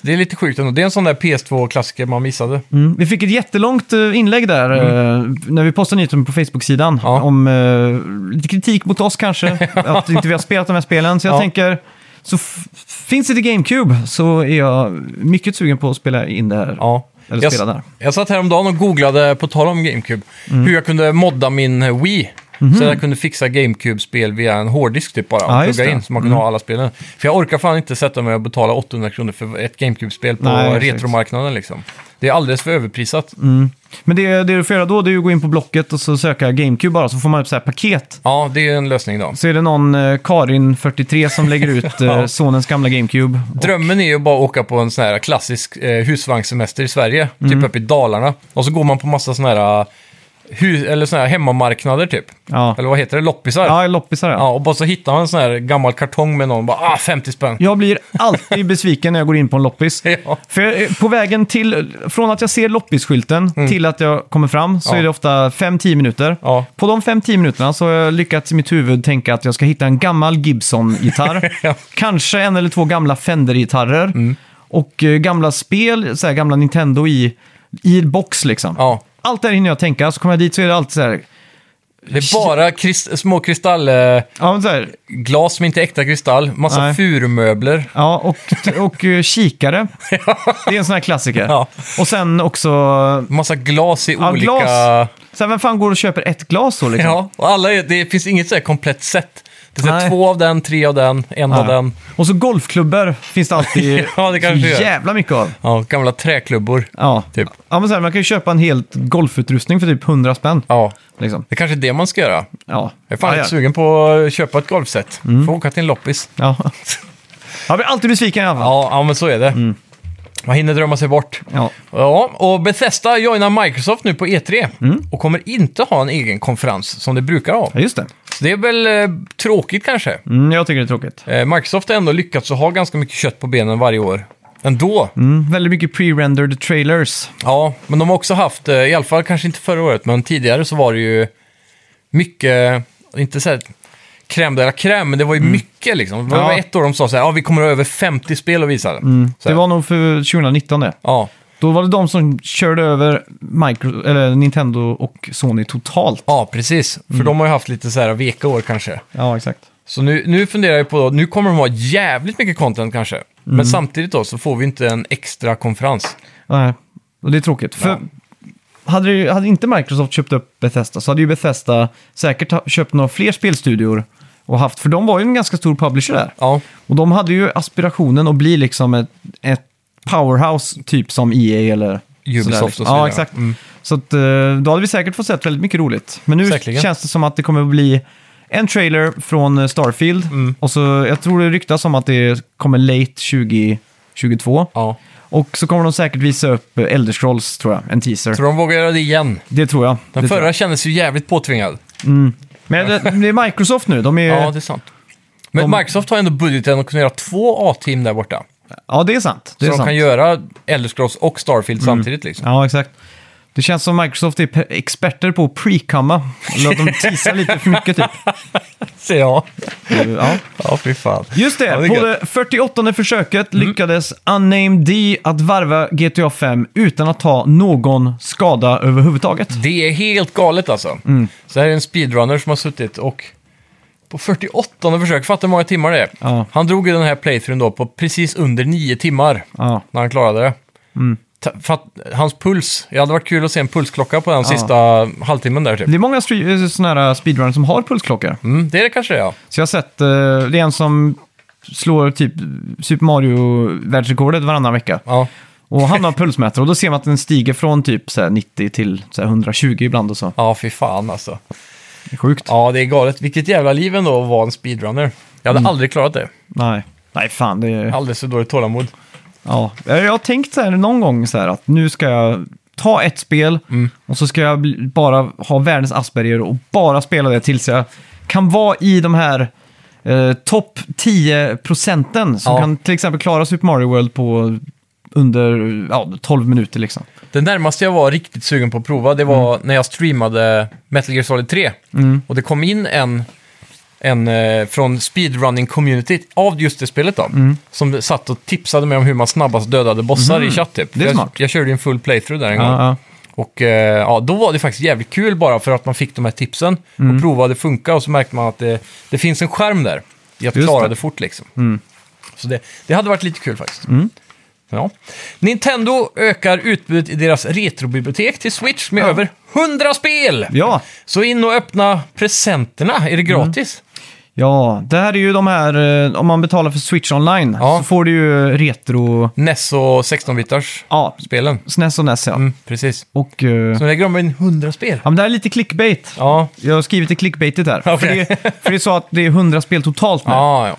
Speaker 2: Det är lite sjukt ändå. Det är en sån där PS2-klassiker man missade.
Speaker 1: Mm. Vi fick ett jättelångt eh, inlägg där eh, när vi postade nyheten på Facebook-sidan
Speaker 2: Mm. Ja.
Speaker 1: om eh, lite kritik mot oss kanske, att inte vi har spelat de här spelen. Så jag
Speaker 2: Ja.
Speaker 1: tänker, så f- finns det till GameCube så är jag mycket sugen på att spela in det här.
Speaker 2: Ja.
Speaker 1: Eller
Speaker 2: jag,
Speaker 1: spela där.
Speaker 2: jag satt häromdagen och googlade, på tal om GameCube,
Speaker 1: Mm.
Speaker 2: hur jag kunde modda min eh, Wii. Så jag kunde fixa GameCube-spel via en hårddisk typ bara.
Speaker 1: Mhm. Ja,
Speaker 2: och
Speaker 1: just
Speaker 2: plugga
Speaker 1: det. Mm.
Speaker 2: in så man kunde ha alla spelen. För jag orkar fan inte sätta mig och betala 800 kronor för ett GameCube-spel på
Speaker 1: Nej, precis. Mm.
Speaker 2: retromarknaden liksom. Det är alldeles för överprisat.
Speaker 1: Men det, det du får göra då det är att gå in på Blocket och så söka GameCube bara, så får man upp så här paket.
Speaker 2: Ja, det är en lösning då.
Speaker 1: Så är det någon eh, Karin43 som lägger ut eh, sonens gamla GameCube.
Speaker 2: Drömmen är ju bara att åka på en sån här klassisk eh, husvagnssemester i Sverige,
Speaker 1: Mm.
Speaker 2: typ uppe i Dalarna. Och så går man på massa såna här, hus, eller såna här hemmamarknader typ.
Speaker 1: Ja,
Speaker 2: Eller vad heter det? Loppisar?
Speaker 1: ja loppisar ja.
Speaker 2: Ja, och bara så hittar man en sån här gammal kartong med någon bara ah, 50 spänn.
Speaker 1: Jag blir alltid besviken när jag går in på en loppis.
Speaker 2: Ja.
Speaker 1: För eh, på vägen till, från att jag ser loppisskylten till att jag kommer fram så
Speaker 2: Mm. Ja.
Speaker 1: är det ofta 5-10 minuter.
Speaker 2: Ja.
Speaker 1: På de 5-10 minuterna så har jag lyckats i mitt huvud tänka att jag ska hitta en gammal Gibson-gitarr.
Speaker 2: Ja. Mm.
Speaker 1: Kanske en eller två gamla Fender-gitarrer. Och eh, gamla spel, så här, gamla Nintendo i, i box liksom.
Speaker 2: Ja.
Speaker 1: Allt det här hinner jag tänka, så kommer jag dit så är det alltid så här...
Speaker 2: Det är bara krist- små kristallglas
Speaker 1: Ja, men så här
Speaker 2: som inte är äkta kristall, massa
Speaker 1: Nej.
Speaker 2: furumöbler.
Speaker 1: Ja, och, och eh, kikare. Det är en sån här klassiker.
Speaker 2: Ja.
Speaker 1: Och sen också
Speaker 2: Massa glas i
Speaker 1: ja,
Speaker 2: olika...
Speaker 1: glas. Sen vem fan går och köper ett glas då liksom?
Speaker 2: Ja, och alla är, det finns inget så här komplett set. Det är så här
Speaker 1: Nej.
Speaker 2: två av den, tre av den, en av
Speaker 1: Ja.
Speaker 2: den.
Speaker 1: Och så golfklubbor finns det alltid
Speaker 2: Ja, det kanske
Speaker 1: så
Speaker 2: gör.
Speaker 1: jävla mycket av.
Speaker 2: Ja, gamla träklubbor.
Speaker 1: Ja.
Speaker 2: Typ.
Speaker 1: ja, men så här, man kan ju köpa en helt golfutrustning för typ 100 spänn.
Speaker 2: Ja,
Speaker 1: Liksom.
Speaker 2: det kanske är det man ska göra.
Speaker 1: Ja.
Speaker 2: Jag är
Speaker 1: ja,
Speaker 2: fan
Speaker 1: Mm.
Speaker 2: lite sugen på att köpa ett golfset. Får åka till en loppis.
Speaker 1: ja. Ja. Jag blir alltid besviken i alla fall.
Speaker 2: Ja, ja men så är det.
Speaker 1: Mm.
Speaker 2: Man hinner drömma sig bort.
Speaker 1: Ja.
Speaker 2: Ja, och Bethesda joinar Microsoft nu på E3
Speaker 1: Mm.
Speaker 2: och kommer inte ha en egen konferens som det brukar ha.
Speaker 1: Ja, just det.
Speaker 2: Så det är väl eh, tråkigt kanske.
Speaker 1: Mm, jag tycker det är tråkigt.
Speaker 2: Eh, Microsoft har ändå lyckats att ha ganska mycket kött på benen varje år. Ändå.
Speaker 1: Mm, väldigt mycket pre-rendered trailers.
Speaker 2: Ja, men de har också haft, eh, i alla fall kanske inte förra året, men tidigare så var det ju mycket, inte så här crème de la crème, men det var ju mycket liksom. Det var
Speaker 1: Mm. Ja. Mm.
Speaker 2: ett år de sa så här, ja vi kommer att ha över 50 spel att visa. Så
Speaker 1: Det
Speaker 2: här,
Speaker 1: var nog för 2019 det.
Speaker 2: Ja,
Speaker 1: Då var det de som körde över Micro, eller Nintendo och Sony totalt.
Speaker 2: ja precis. För
Speaker 1: Mm.
Speaker 2: de har ju haft lite så här veka år kanske.
Speaker 1: Ja, exakt.
Speaker 2: Så nu, nu funderar jag på, då, nu kommer de ha jävligt mycket content kanske.
Speaker 1: Mm.
Speaker 2: Men samtidigt då så får vi inte en extra konferens.
Speaker 1: Nej, och det är tråkigt. För hade, det- hade inte Microsoft köpt upp Bethesda så hade ju Bethesda säkert ha- köpt några fler spelstudior och haft, för de var ju en ganska stor publisher där.
Speaker 2: Ja,
Speaker 1: Och de hade ju aspirationen att bli liksom ett, ett powerhouse typ som EA eller
Speaker 2: Ubisoft
Speaker 1: sådär.
Speaker 2: och så vidare. Mm.
Speaker 1: Ja, exakt. Så att, eh, då hade vi säkert fått sett väldigt mycket roligt. Men nu
Speaker 2: Säkerligen.
Speaker 1: känns det som att det kommer att bli en trailer från eh, Starfield.
Speaker 2: Mm.
Speaker 1: Och så, jag tror det ryktas om att det kommer late 2022.
Speaker 2: ja.
Speaker 1: Och så kommer de säkert visa upp eh, Elder Scrolls, tror jag. En teaser.
Speaker 2: Tror de vågar göra det igen?
Speaker 1: Det tror jag.
Speaker 2: Den
Speaker 1: det tror
Speaker 2: förra
Speaker 1: jag.
Speaker 2: kändes ju jävligt påtvingad.
Speaker 1: Men det, det är Microsoft nu, de är...
Speaker 2: Ja, det är sant. Eh, Men
Speaker 1: De-
Speaker 2: Microsoft har ändå budgeten att kunna göra två A-team där borta.
Speaker 1: sant. Det
Speaker 2: Så
Speaker 1: är
Speaker 2: de
Speaker 1: sant. Mm.
Speaker 2: kan göra Elder Scrolls och Starfield samtidigt liksom.
Speaker 1: Ja, exakt. Det känns som Microsoft är pe- experter på att pre-comma. Eller att de teasar lite för mycket typ.
Speaker 2: Så ja.
Speaker 1: Ja.
Speaker 2: Ja, fy fan.
Speaker 1: Just det,
Speaker 2: Ja, är
Speaker 1: på
Speaker 2: gött.
Speaker 1: det 48 försöket lyckades Unnamed D att varva GTA 5 utan att ta någon skada överhuvudtaget.
Speaker 2: Det är helt galet alltså.
Speaker 1: Mm.
Speaker 2: Så här är en speedrunner som har suttit och på 48 försök, fattar hur många timmar det är.
Speaker 1: Ja.
Speaker 2: Han drog ju den här playthroughen då på precis under 9 timmar
Speaker 1: Ja. Mm.
Speaker 2: när han klarade det. Ta- Fatt, hans puls, det hade varit kul att se en pulsklocka på den sista halvtimmen där typ.
Speaker 1: Det är många stre- eh, såna här speedrunners som har pulsklockor.
Speaker 2: Mm, det är det kanske det ja.
Speaker 1: Så jag har sett, eh, det är en som slår typ Super Mario-världsrekordet varannan vecka.
Speaker 2: ja.
Speaker 1: Och han har pulsmätare och då ser man att den stiger från typ så här 90 till så här 120 ibland och så.
Speaker 2: Ja, fy fan alltså.
Speaker 1: Det är Sjukt.
Speaker 2: Ja, det är galet. Vilket jävla liv ändå att vara en speedrunner. Jag hade aldrig klarat det.
Speaker 1: Nej. Nej, fan. Det är...
Speaker 2: Alldeles för dåligt tålamod.
Speaker 1: Ja, jag har tänkt så här någon gång så här att nu ska jag ta ett spel
Speaker 2: Mm.
Speaker 1: och så ska jag bli- bara ha världens Asperger och bara spela det tills jag kan vara i de här eh, topp 10 procenten som
Speaker 2: Ja.
Speaker 1: kan till exempel klara Super Mario World på under ja, 12 minuter liksom.
Speaker 2: Det närmaste jag var riktigt sugen på att prova, det var
Speaker 1: Mm.
Speaker 2: när jag streamade Metal Gear Solid 3. Och det kom in en, en eh, från speedrunning-communityt av just det spelet då.
Speaker 1: Mm.
Speaker 2: Som satt och tipsade mig om hur man snabbast dödade bossar i chatt typ.
Speaker 1: Det är
Speaker 2: jag,
Speaker 1: smart.
Speaker 2: jag körde ju en full playthrough där en gång.
Speaker 1: Ja, ja.
Speaker 2: Och eh, ja, då var det faktiskt jävligt kul bara för att man fick de här tipsen
Speaker 1: Mm.
Speaker 2: och provade att funka och så märkte man att det, det finns en skärm där. Jag
Speaker 1: Just
Speaker 2: klarade
Speaker 1: det. Mm.
Speaker 2: det fort liksom. Så det, det hade varit lite kul faktiskt. Ja. Nintendo ökar utbudet i deras retrobibliotek till Switch med över 100 spel!
Speaker 1: ja. Mm.
Speaker 2: Så in och öppna presenterna, är det gratis?
Speaker 1: Ja, det här är ju de här, eh, om man betalar för Switch Online
Speaker 2: Ja.
Speaker 1: så får du ju retro...
Speaker 2: NES och 16-bitars
Speaker 1: Ja,
Speaker 2: spelen.
Speaker 1: SNES och NES ja.
Speaker 2: Mm, precis.
Speaker 1: Och... eh,
Speaker 2: Så lägger de in 100 spel.
Speaker 1: Ja, men det här är lite clickbait.
Speaker 2: Ja,
Speaker 1: Jag har skrivit i clickbaitet här. För,
Speaker 2: Okej.
Speaker 1: det, för det sa att det är 100 spel totalt nu.
Speaker 2: ja, ja.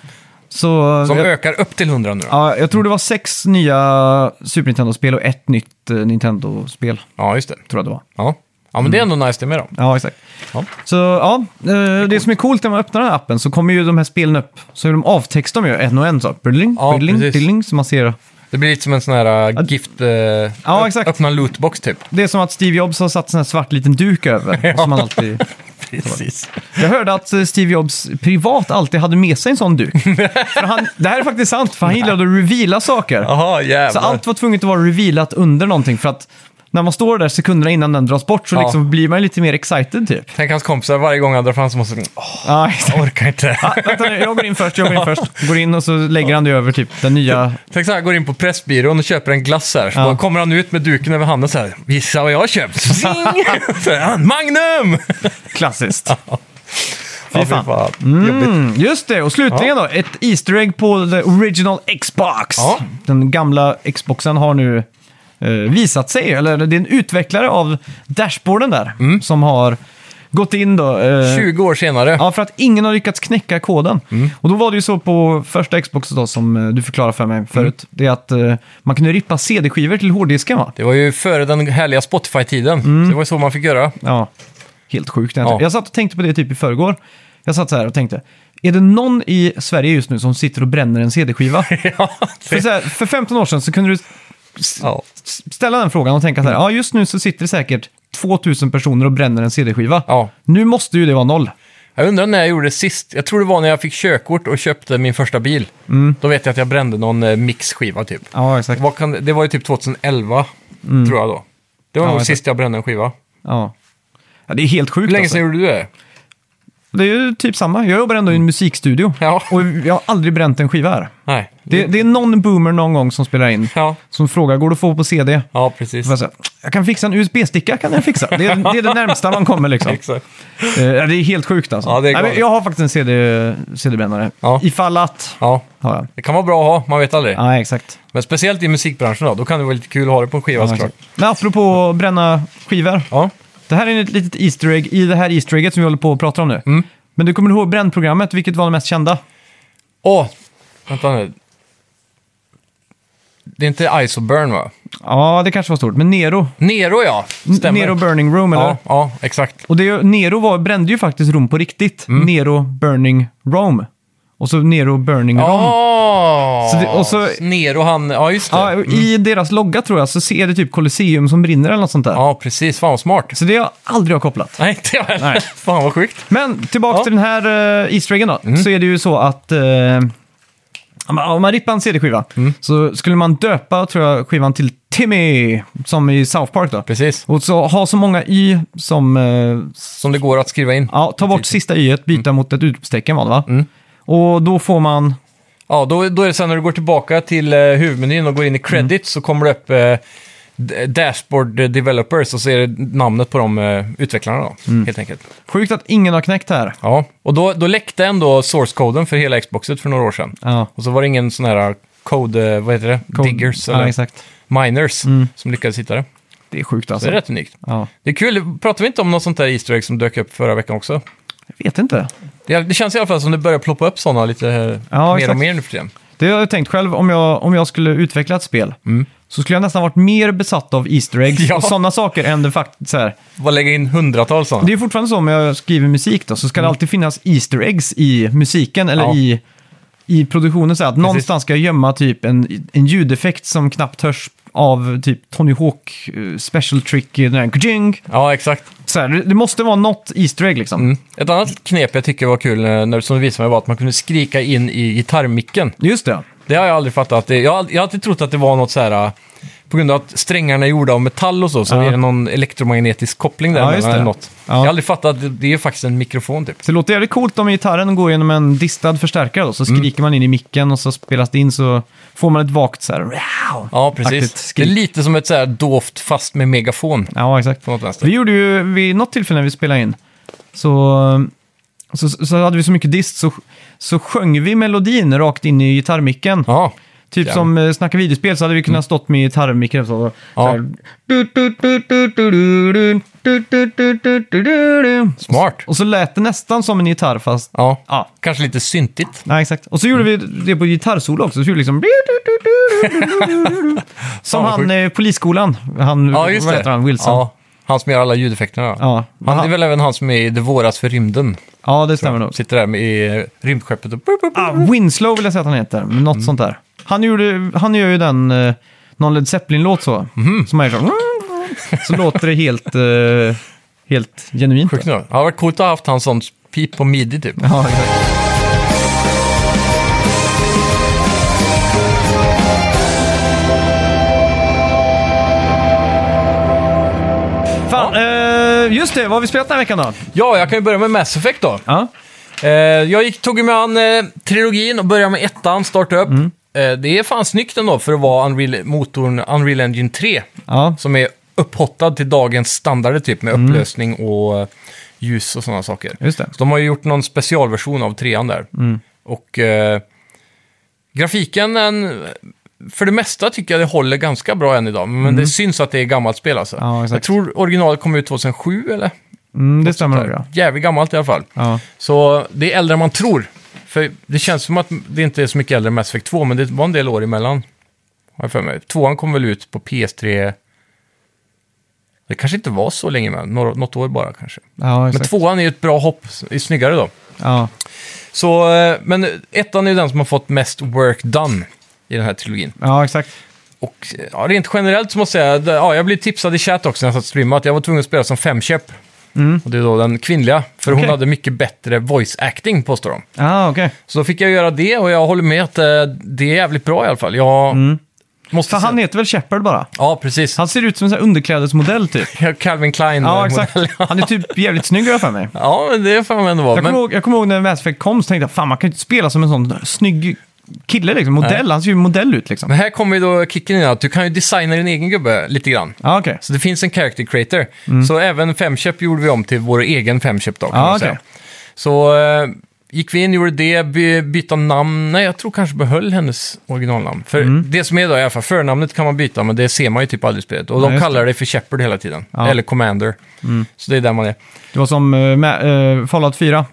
Speaker 1: Så
Speaker 2: Som
Speaker 1: jag,
Speaker 2: ökar upp till 100 nu då.
Speaker 1: ja, jag tror det var sex nya Super Nintendo-spel och ett nytt eh, Nintendo-spel.
Speaker 2: Ja, just det.
Speaker 1: Tror jag det var.
Speaker 2: Ja, ja men det är
Speaker 1: Mm.
Speaker 2: ändå nice det med då.
Speaker 1: Ja, exakt.
Speaker 2: Ja.
Speaker 1: Så ja, eh, det, som är coolt när man öppnar den här appen så kommer ju de här spelen upp. Så är de avtextar de ju en och en så. Brilling,
Speaker 2: Ja,
Speaker 1: brilling,
Speaker 2: precis.
Speaker 1: brilling. Så man ser.
Speaker 2: Det blir lite som en sån här äh, gift... Äh,
Speaker 1: Ja, exakt.
Speaker 2: Öppna en lootbox typ.
Speaker 1: Det är som att Steve Jobs har satt en sån här svart liten duk över. som man alltid...
Speaker 2: Precis.
Speaker 1: Jag hörde att eh, Steve Jobs privat alltid hade med sig en sån duk. för han, det här är faktiskt sant, för han gillade att reveala saker.
Speaker 2: Jaha,
Speaker 1: Så
Speaker 2: jävlar.
Speaker 1: allt var tvunget att vara revealat under någonting för att när man står där sekunderna innan den dras bort så
Speaker 2: Ja.
Speaker 1: liksom blir man ju lite mer excited typ.
Speaker 2: Tänk hans kompisar varje gång han drar fram så måste de... Åh,
Speaker 1: Ja,
Speaker 2: jag orkar inte.
Speaker 1: Vänta nu, jag går in först, jag går in först. Går in och så lägger han det över typ den nya...
Speaker 2: Tänk så här, går in på Pressbyrån och köper en glass här. Så
Speaker 1: Ja.
Speaker 2: bara kommer han ut med duken över handen så här. Gissa vad jag har köpt. Zing! Så är han, Magnum!
Speaker 1: Klassiskt.
Speaker 2: Ja, fy
Speaker 1: fan.
Speaker 2: fan. Jobbigt.
Speaker 1: Mm, just det, och slutligen då, ett Easter egg på the original Xbox.
Speaker 2: Ja.
Speaker 1: Den gamla Xboxen har nu eh, visat sig, eller det är en utvecklare av dashboarden där
Speaker 2: Mm.
Speaker 1: som har gått in då. eh,
Speaker 2: 20 år senare.
Speaker 1: Ja, för att ingen har lyckats knäcka koden.
Speaker 2: Mm.
Speaker 1: Och då var det ju så på första Xbox då, som eh, du förklarade för mig förut.
Speaker 2: Mm.
Speaker 1: Det är att eh, man kunde rippa CD-skivor till hårddisken va?
Speaker 2: Det var ju före den härliga Spotify-tiden.
Speaker 1: Mm.
Speaker 2: Så det var ju så man fick göra.
Speaker 1: Ja, helt sjukt egentligen.
Speaker 2: Ja.
Speaker 1: Jag satt och tänkte på det typ i förrgår. Jag satt så här och tänkte, är det någon i Sverige just nu som sitter och bränner en CD-skiva?
Speaker 2: ja,
Speaker 1: för, så här, för 15 år sedan så kunde du s-
Speaker 2: ja. Mm.
Speaker 1: s- ställa den frågan och tänka så här, ja just nu så sitter det säkert 2000 personer och bränner en CD-skiva.
Speaker 2: Ja.
Speaker 1: Nu måste ju det vara noll.
Speaker 2: Jag undrar när jag gjorde det sist. Jag tror det var när jag fick körkort och köpte min första bil. Då vet jag att jag brände någon eh, mixskiva typ.
Speaker 1: Mm. Ja, exakt. Mm.
Speaker 2: Vad kan, det- det var ju typ 2011, tror jag då. Det var
Speaker 1: Ja,
Speaker 2: nog
Speaker 1: exakt.
Speaker 2: sist jag brände en skiva.
Speaker 1: Ja. Ja, det är helt sjukt.
Speaker 2: Hur länge
Speaker 1: alltså.
Speaker 2: sedan gjorde du det?
Speaker 1: Det är ju typ samma. Jag jobbar ändå i en musikstudio.
Speaker 2: Mm. Ja.
Speaker 1: Och jag har aldrig bränt en skiva här.
Speaker 2: Nej.
Speaker 1: Det, det är någon boomer någon gång som spelar in.
Speaker 2: Ja,
Speaker 1: Som frågar, går det att få på CD?
Speaker 2: ja precis.
Speaker 1: Och jag säger, Jag kan fixa en USB-sticka, kan jag fixa. Det är det, är det närmsta man kommer liksom.
Speaker 2: Exakt.
Speaker 1: Eh, ja, det är helt sjukt alltså.
Speaker 2: Ja, det är
Speaker 1: Nej, men
Speaker 2: galet.
Speaker 1: jag har faktiskt en CD, CD-brännare.
Speaker 2: Ja.
Speaker 1: Ifall att,
Speaker 2: Ja,
Speaker 1: har jag.
Speaker 2: det kan vara bra att ha, man vet aldrig.
Speaker 1: Ja, exakt.
Speaker 2: Men speciellt i musikbranschen då, då kan det vara lite kul att ha det på en skiva såklart.
Speaker 1: Men apropå att bränna skivor.
Speaker 2: Ja.
Speaker 1: Det här är ett litet Easter egg i det här Easter egget som vi håller på att prata om nu.
Speaker 2: Mm.
Speaker 1: Men du kommer ihåg brännprogrammet, vilket var det mest kända?
Speaker 2: Åh, vänta nu. Det är inte Isoburn va?
Speaker 1: Ja, det kanske var stort. Men Nero.
Speaker 2: Nero ja, stämmer.
Speaker 1: Nero Burning Room, eller?
Speaker 2: ja, ja, exakt.
Speaker 1: Och det, Nero var, brände ju faktiskt Rom på riktigt.
Speaker 2: Mm.
Speaker 1: Nero Burning Rome. Och så Nero Burning Rome.
Speaker 2: Ja,
Speaker 1: Så det- och så-
Speaker 2: Nero han, ja just det.
Speaker 1: Ja,
Speaker 2: Ja,
Speaker 1: och I deras logga tror jag så ser det typ Colosseum som brinner eller något sånt där.
Speaker 2: precis. Fan vad smart.
Speaker 1: Så det har jag aldrig har kopplat.
Speaker 2: Nej, det var...
Speaker 1: Nej.
Speaker 2: Fan vad sjukt.
Speaker 1: Men tillbaka
Speaker 2: Ja. Mm.
Speaker 1: till den här uh, Easter eggen då. Så är det ju så att eh, om man- om man rippar en CD-skiva
Speaker 2: Mm.
Speaker 1: så skulle man döpa tror jag, skivan till Timmy, som i South Park då.
Speaker 2: Precis.
Speaker 1: Och så ha så många Y som... eh,
Speaker 2: Som det går att skriva in.
Speaker 1: ja, ta bort sista Y, byta
Speaker 2: Mm.
Speaker 1: mot ett utropstecken var det va? Och då får man...
Speaker 2: Ja, då, då är det sen när du går tillbaka till eh, huvudmenyn och går
Speaker 1: Mm.
Speaker 2: in i credits så kommer det upp eh, d- Dashboard Developers och så är det namnet på de eh, utvecklarna då,
Speaker 1: Mm.
Speaker 2: helt enkelt.
Speaker 1: Sjukt att ingen har knäckt här.
Speaker 2: Ja, och då, då läckte ändå source-koden för hela Xboxet för några år sedan.
Speaker 1: Ja.
Speaker 2: Och så var det ingen sån här code, eh, vad heter det, diggers eller
Speaker 1: Ja, exakt.
Speaker 2: miners som lyckades hitta det.
Speaker 1: Det är sjukt
Speaker 2: Så det
Speaker 1: alltså.
Speaker 2: är rätt unikt.
Speaker 1: Ja.
Speaker 2: Det är kul, pratar vi inte om något sånt där Easter egg som dök upp förra veckan också?
Speaker 1: Jag vet inte.
Speaker 2: Det, det känns i alla fall som det börjar ploppa upp sådana lite eh,
Speaker 1: Ja,
Speaker 2: mer och
Speaker 1: exakt.
Speaker 2: mer nu för tiden.
Speaker 1: Det har jag tänkt själv, om jag, om jag skulle utveckla ett spel så skulle jag nästan varit mer besatt av Easter eggs
Speaker 2: Mm. Ja.
Speaker 1: och sådana saker än det faktiskt så här.
Speaker 2: Bara lägga in hundratals sådana.
Speaker 1: Det är fortfarande så om jag skriver musik då, så ska det alltid finnas Easter eggs i musiken eller
Speaker 2: Mm. Ja.
Speaker 1: i, i produktionen. Så här, att någonstans ska jag gömma typ en, en ljudeffekt som knappt hörs av typ Tony Hawk eh, special trick, den här kajing.
Speaker 2: Ja, exakt.
Speaker 1: Så här, det, det måste vara något Easter egg liksom.
Speaker 2: Mm. Ett annat knep jag tycker var kul, eh, när, som du visade mig, var att man kunde skrika in i gitarrmicken.
Speaker 1: Just det.
Speaker 2: Det har jag aldrig fattat. Det- Jag har, ald- jag har alltid trott att det var något så här, eh, på grund av att strängarna är gjorda av metall och så, så
Speaker 1: Ja.
Speaker 2: är det någon elektromagnetisk koppling där
Speaker 1: Ja,
Speaker 2: mellan
Speaker 1: just det.
Speaker 2: eller något.
Speaker 1: Ja.
Speaker 2: Jag har aldrig fattat att det, det är faktiskt en mikrofon typ.
Speaker 1: Så det låter jävligt coolt om gitarren går genom en distad förstärkare då, så
Speaker 2: Mm.
Speaker 1: skriker man in i micken och så spelas det in så får man ett vagt så här... "Wow!"
Speaker 2: Ja, precis.
Speaker 1: Aktigt
Speaker 2: Det är
Speaker 1: skrik.
Speaker 2: lite som ett så här dovt fast med megafon.
Speaker 1: Ja, exakt.
Speaker 2: På något vänster.
Speaker 1: Vi gjorde ju, vid något tillfälle när vi spelade in, så, så, så hade vi så mycket dist så, så sjöng vi melodin rakt in i gitarrmicken.
Speaker 2: Ja, Mm.
Speaker 1: Typ
Speaker 2: jävlar.
Speaker 1: som eh, Snacka videospel så hade vi kunnat stått med gitarrmicken och så, så här,
Speaker 2: smart.
Speaker 1: Och så lät det nästan som en gitarr fast...
Speaker 2: Ja. Mm.
Speaker 1: Ja,
Speaker 2: Kanske lite syntigt.
Speaker 1: Nej, exakt. Och så gjorde vi det på gitarrsolo också. Så gjorde vi liksom... Som
Speaker 2: vad
Speaker 1: han
Speaker 2: sjukt.
Speaker 1: eh, polisskolan. Han,
Speaker 2: Ja, just
Speaker 1: vad
Speaker 2: det.
Speaker 1: heter han? Wilson. Ja,
Speaker 2: Ja, han som gör alla ljudeffekterna.
Speaker 1: Ja.
Speaker 2: Han, det
Speaker 1: Aha.
Speaker 2: är väl även han som är i Det våras för rymden.
Speaker 1: det stämmer nog.
Speaker 2: Sitter där med i rymdskeppet och...
Speaker 1: Ah, Winslow vill jag säga att han heter. men Något sånt där. Han, gjorde, han gör ju den... Eh, någon Led Zeppelin-låt så. Som är så... Så låter det helt... Eh, helt genuint.
Speaker 2: Sjukt nu. Det hade varit coolt att ha haft han sån pip på midi typ.
Speaker 1: Ja, exakt. Fan, eh, just det. Vad har vi spelat den här veckan då?
Speaker 2: Ja, jag kan ju börja med Mass Effect då.
Speaker 1: Ja.
Speaker 2: Eh, jag gick, tog ju mig an eh, trilogin och började med ettan, starta upp.
Speaker 1: Mm.
Speaker 2: Eh, det är fan snyggt ändå för att vara Unreal, motorn Unreal Engine 3.
Speaker 1: Ja.
Speaker 2: Som är upphottad till dagens standarder typ med upplösning och eh, ljus och sådana saker.
Speaker 1: Mm. Just det. Mm.
Speaker 2: Så de har ju gjort någon specialversion av trean där. Och eh, grafiken, en, för det mesta tycker jag det håller ganska bra än idag. Men det syns att det är gammalt spel alltså.
Speaker 1: Mm. Ja, exakt.
Speaker 2: jag tror originalet kom ut 2007 eller?
Speaker 1: Mm, det stämmer nog. Ja.
Speaker 2: Jävligt gammalt i alla fall.
Speaker 1: Ja.
Speaker 2: Så det är äldre än man tror. För det känns som att det inte är så mycket äldre än Mass Effect 2, men det var en del år emellan. Har jag för mig. Tvåan kom väl ut på PS3... Det kanske inte var så länge men några- något år bara kanske.
Speaker 1: Ja,
Speaker 2: Men
Speaker 1: exakt.
Speaker 2: tvåan är ju ett bra hopp, är snyggare då.
Speaker 1: Ja.
Speaker 2: Så, eh, men ettan är ju den som har fått mest work done i den här trilogin.
Speaker 1: ja, exakt.
Speaker 2: Och eh, ja, rent generellt så måste jag säga, det- ja, jag blev tipsad i chat också när jag satt och streamade att jag var tvungen att spela som femköp. Och det är då den kvinnliga, för hon
Speaker 1: Mm. Okej.
Speaker 2: hade mycket bättre voice acting påstår de.
Speaker 1: Ja, okej.
Speaker 2: Så då fick jag göra det och jag håller med att eh, det är jävligt bra i alla fall. Jag måste
Speaker 1: För Mm.
Speaker 2: säga-
Speaker 1: han heter väl Shepard bara?
Speaker 2: Ja, precis.
Speaker 1: Han ser ut som en sån här underklädesmodell typ.
Speaker 2: Calvin Klein.
Speaker 1: Ja,
Speaker 2: eh,
Speaker 1: exakt.
Speaker 2: modell.
Speaker 1: Han är typ jävligt snygg har jag för mig.
Speaker 2: ja, men det får man ändå vara.
Speaker 1: Jag kommer,
Speaker 2: Men,
Speaker 1: ihåg, jag kommer ihåg när Mass Effect kom så tänkte jag fan man kan ju inte spela som en sån snygg kille liksom. Modell, han ser ju modell ut liksom.
Speaker 2: men här kommer ju då kicken in att du kan ju designa din egen gubbe lite grann.
Speaker 1: Ja, okej.
Speaker 2: Så det finns en character creator. Så även Femköp gjorde vi om till vår egen Femköp då, kan
Speaker 1: Mm. Ja,
Speaker 2: man
Speaker 1: okej.
Speaker 2: säga. Så eh, gick vi in, gjorde det, by byta namn. Nej, jag tror kanske behöll hennes originalnamn. För
Speaker 1: Mm.
Speaker 2: det som är då i alla fall, förnamnet kan man byta, men det ser man ju typ aldrig i spelet. Och
Speaker 1: Ja,
Speaker 2: de
Speaker 1: just
Speaker 2: kallar dig för Shepard hela tiden.
Speaker 1: Ja. Mm.
Speaker 2: Eller Commander. Så det är där man är.
Speaker 1: Det var som eh, Ma- eh, Fallout 4.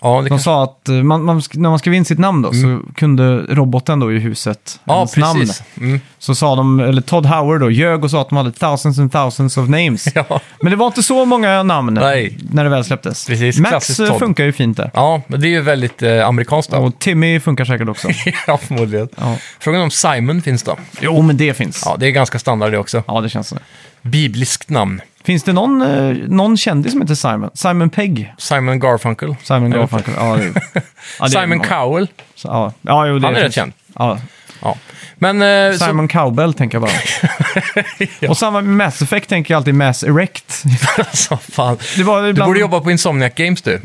Speaker 2: Ja, det
Speaker 1: De
Speaker 2: kanske...
Speaker 1: sa att eh, man, man, sk- när man skrev in sitt namn då, så kunde roboten då i huset
Speaker 2: Mm. ja
Speaker 1: ens namn.
Speaker 2: precis. Mm.
Speaker 1: Så sa de, eller Todd Howard då, ljög och sa att de hade thousands and thousands of names.
Speaker 2: Ja.
Speaker 1: Men det var inte så många namn
Speaker 2: Nej.
Speaker 1: när det väl släpptes.
Speaker 2: Precis,
Speaker 1: Max
Speaker 2: klassiskt
Speaker 1: eh,
Speaker 2: Todd.
Speaker 1: funkar ju fint där.
Speaker 2: ja, men det är ju väldigt eh, amerikanskt. då.
Speaker 1: Och Timmy funkar säkert också.
Speaker 2: ja, förmodligen.
Speaker 1: Ja.
Speaker 2: Frågan om Simon finns då?
Speaker 1: Jo, men det finns. Ja,
Speaker 2: Ja, det är ganska standard det också.
Speaker 1: det känns så.
Speaker 2: Bibliskt namn.
Speaker 1: Finns det någon, eh, någon kändis som heter Simon? Simon Pegg?
Speaker 2: Simon Garfunkel.
Speaker 1: Simon Garfunkel? Ja, det, ja, det är
Speaker 2: Simon
Speaker 1: många.
Speaker 2: Cowell.
Speaker 1: Så, Ja, ja jo, det
Speaker 2: Han är rätt
Speaker 1: finns.
Speaker 2: känd.
Speaker 1: Ja.
Speaker 2: Ja. Men eh, så-
Speaker 1: Simon Cowbell tänker jag bara. Och samma med Mass Effect tänker jag alltid Mass Erect.
Speaker 2: Alltså, fan.
Speaker 1: Det var
Speaker 2: Du
Speaker 1: ibland...
Speaker 2: borde jobba på Insomniac Games du.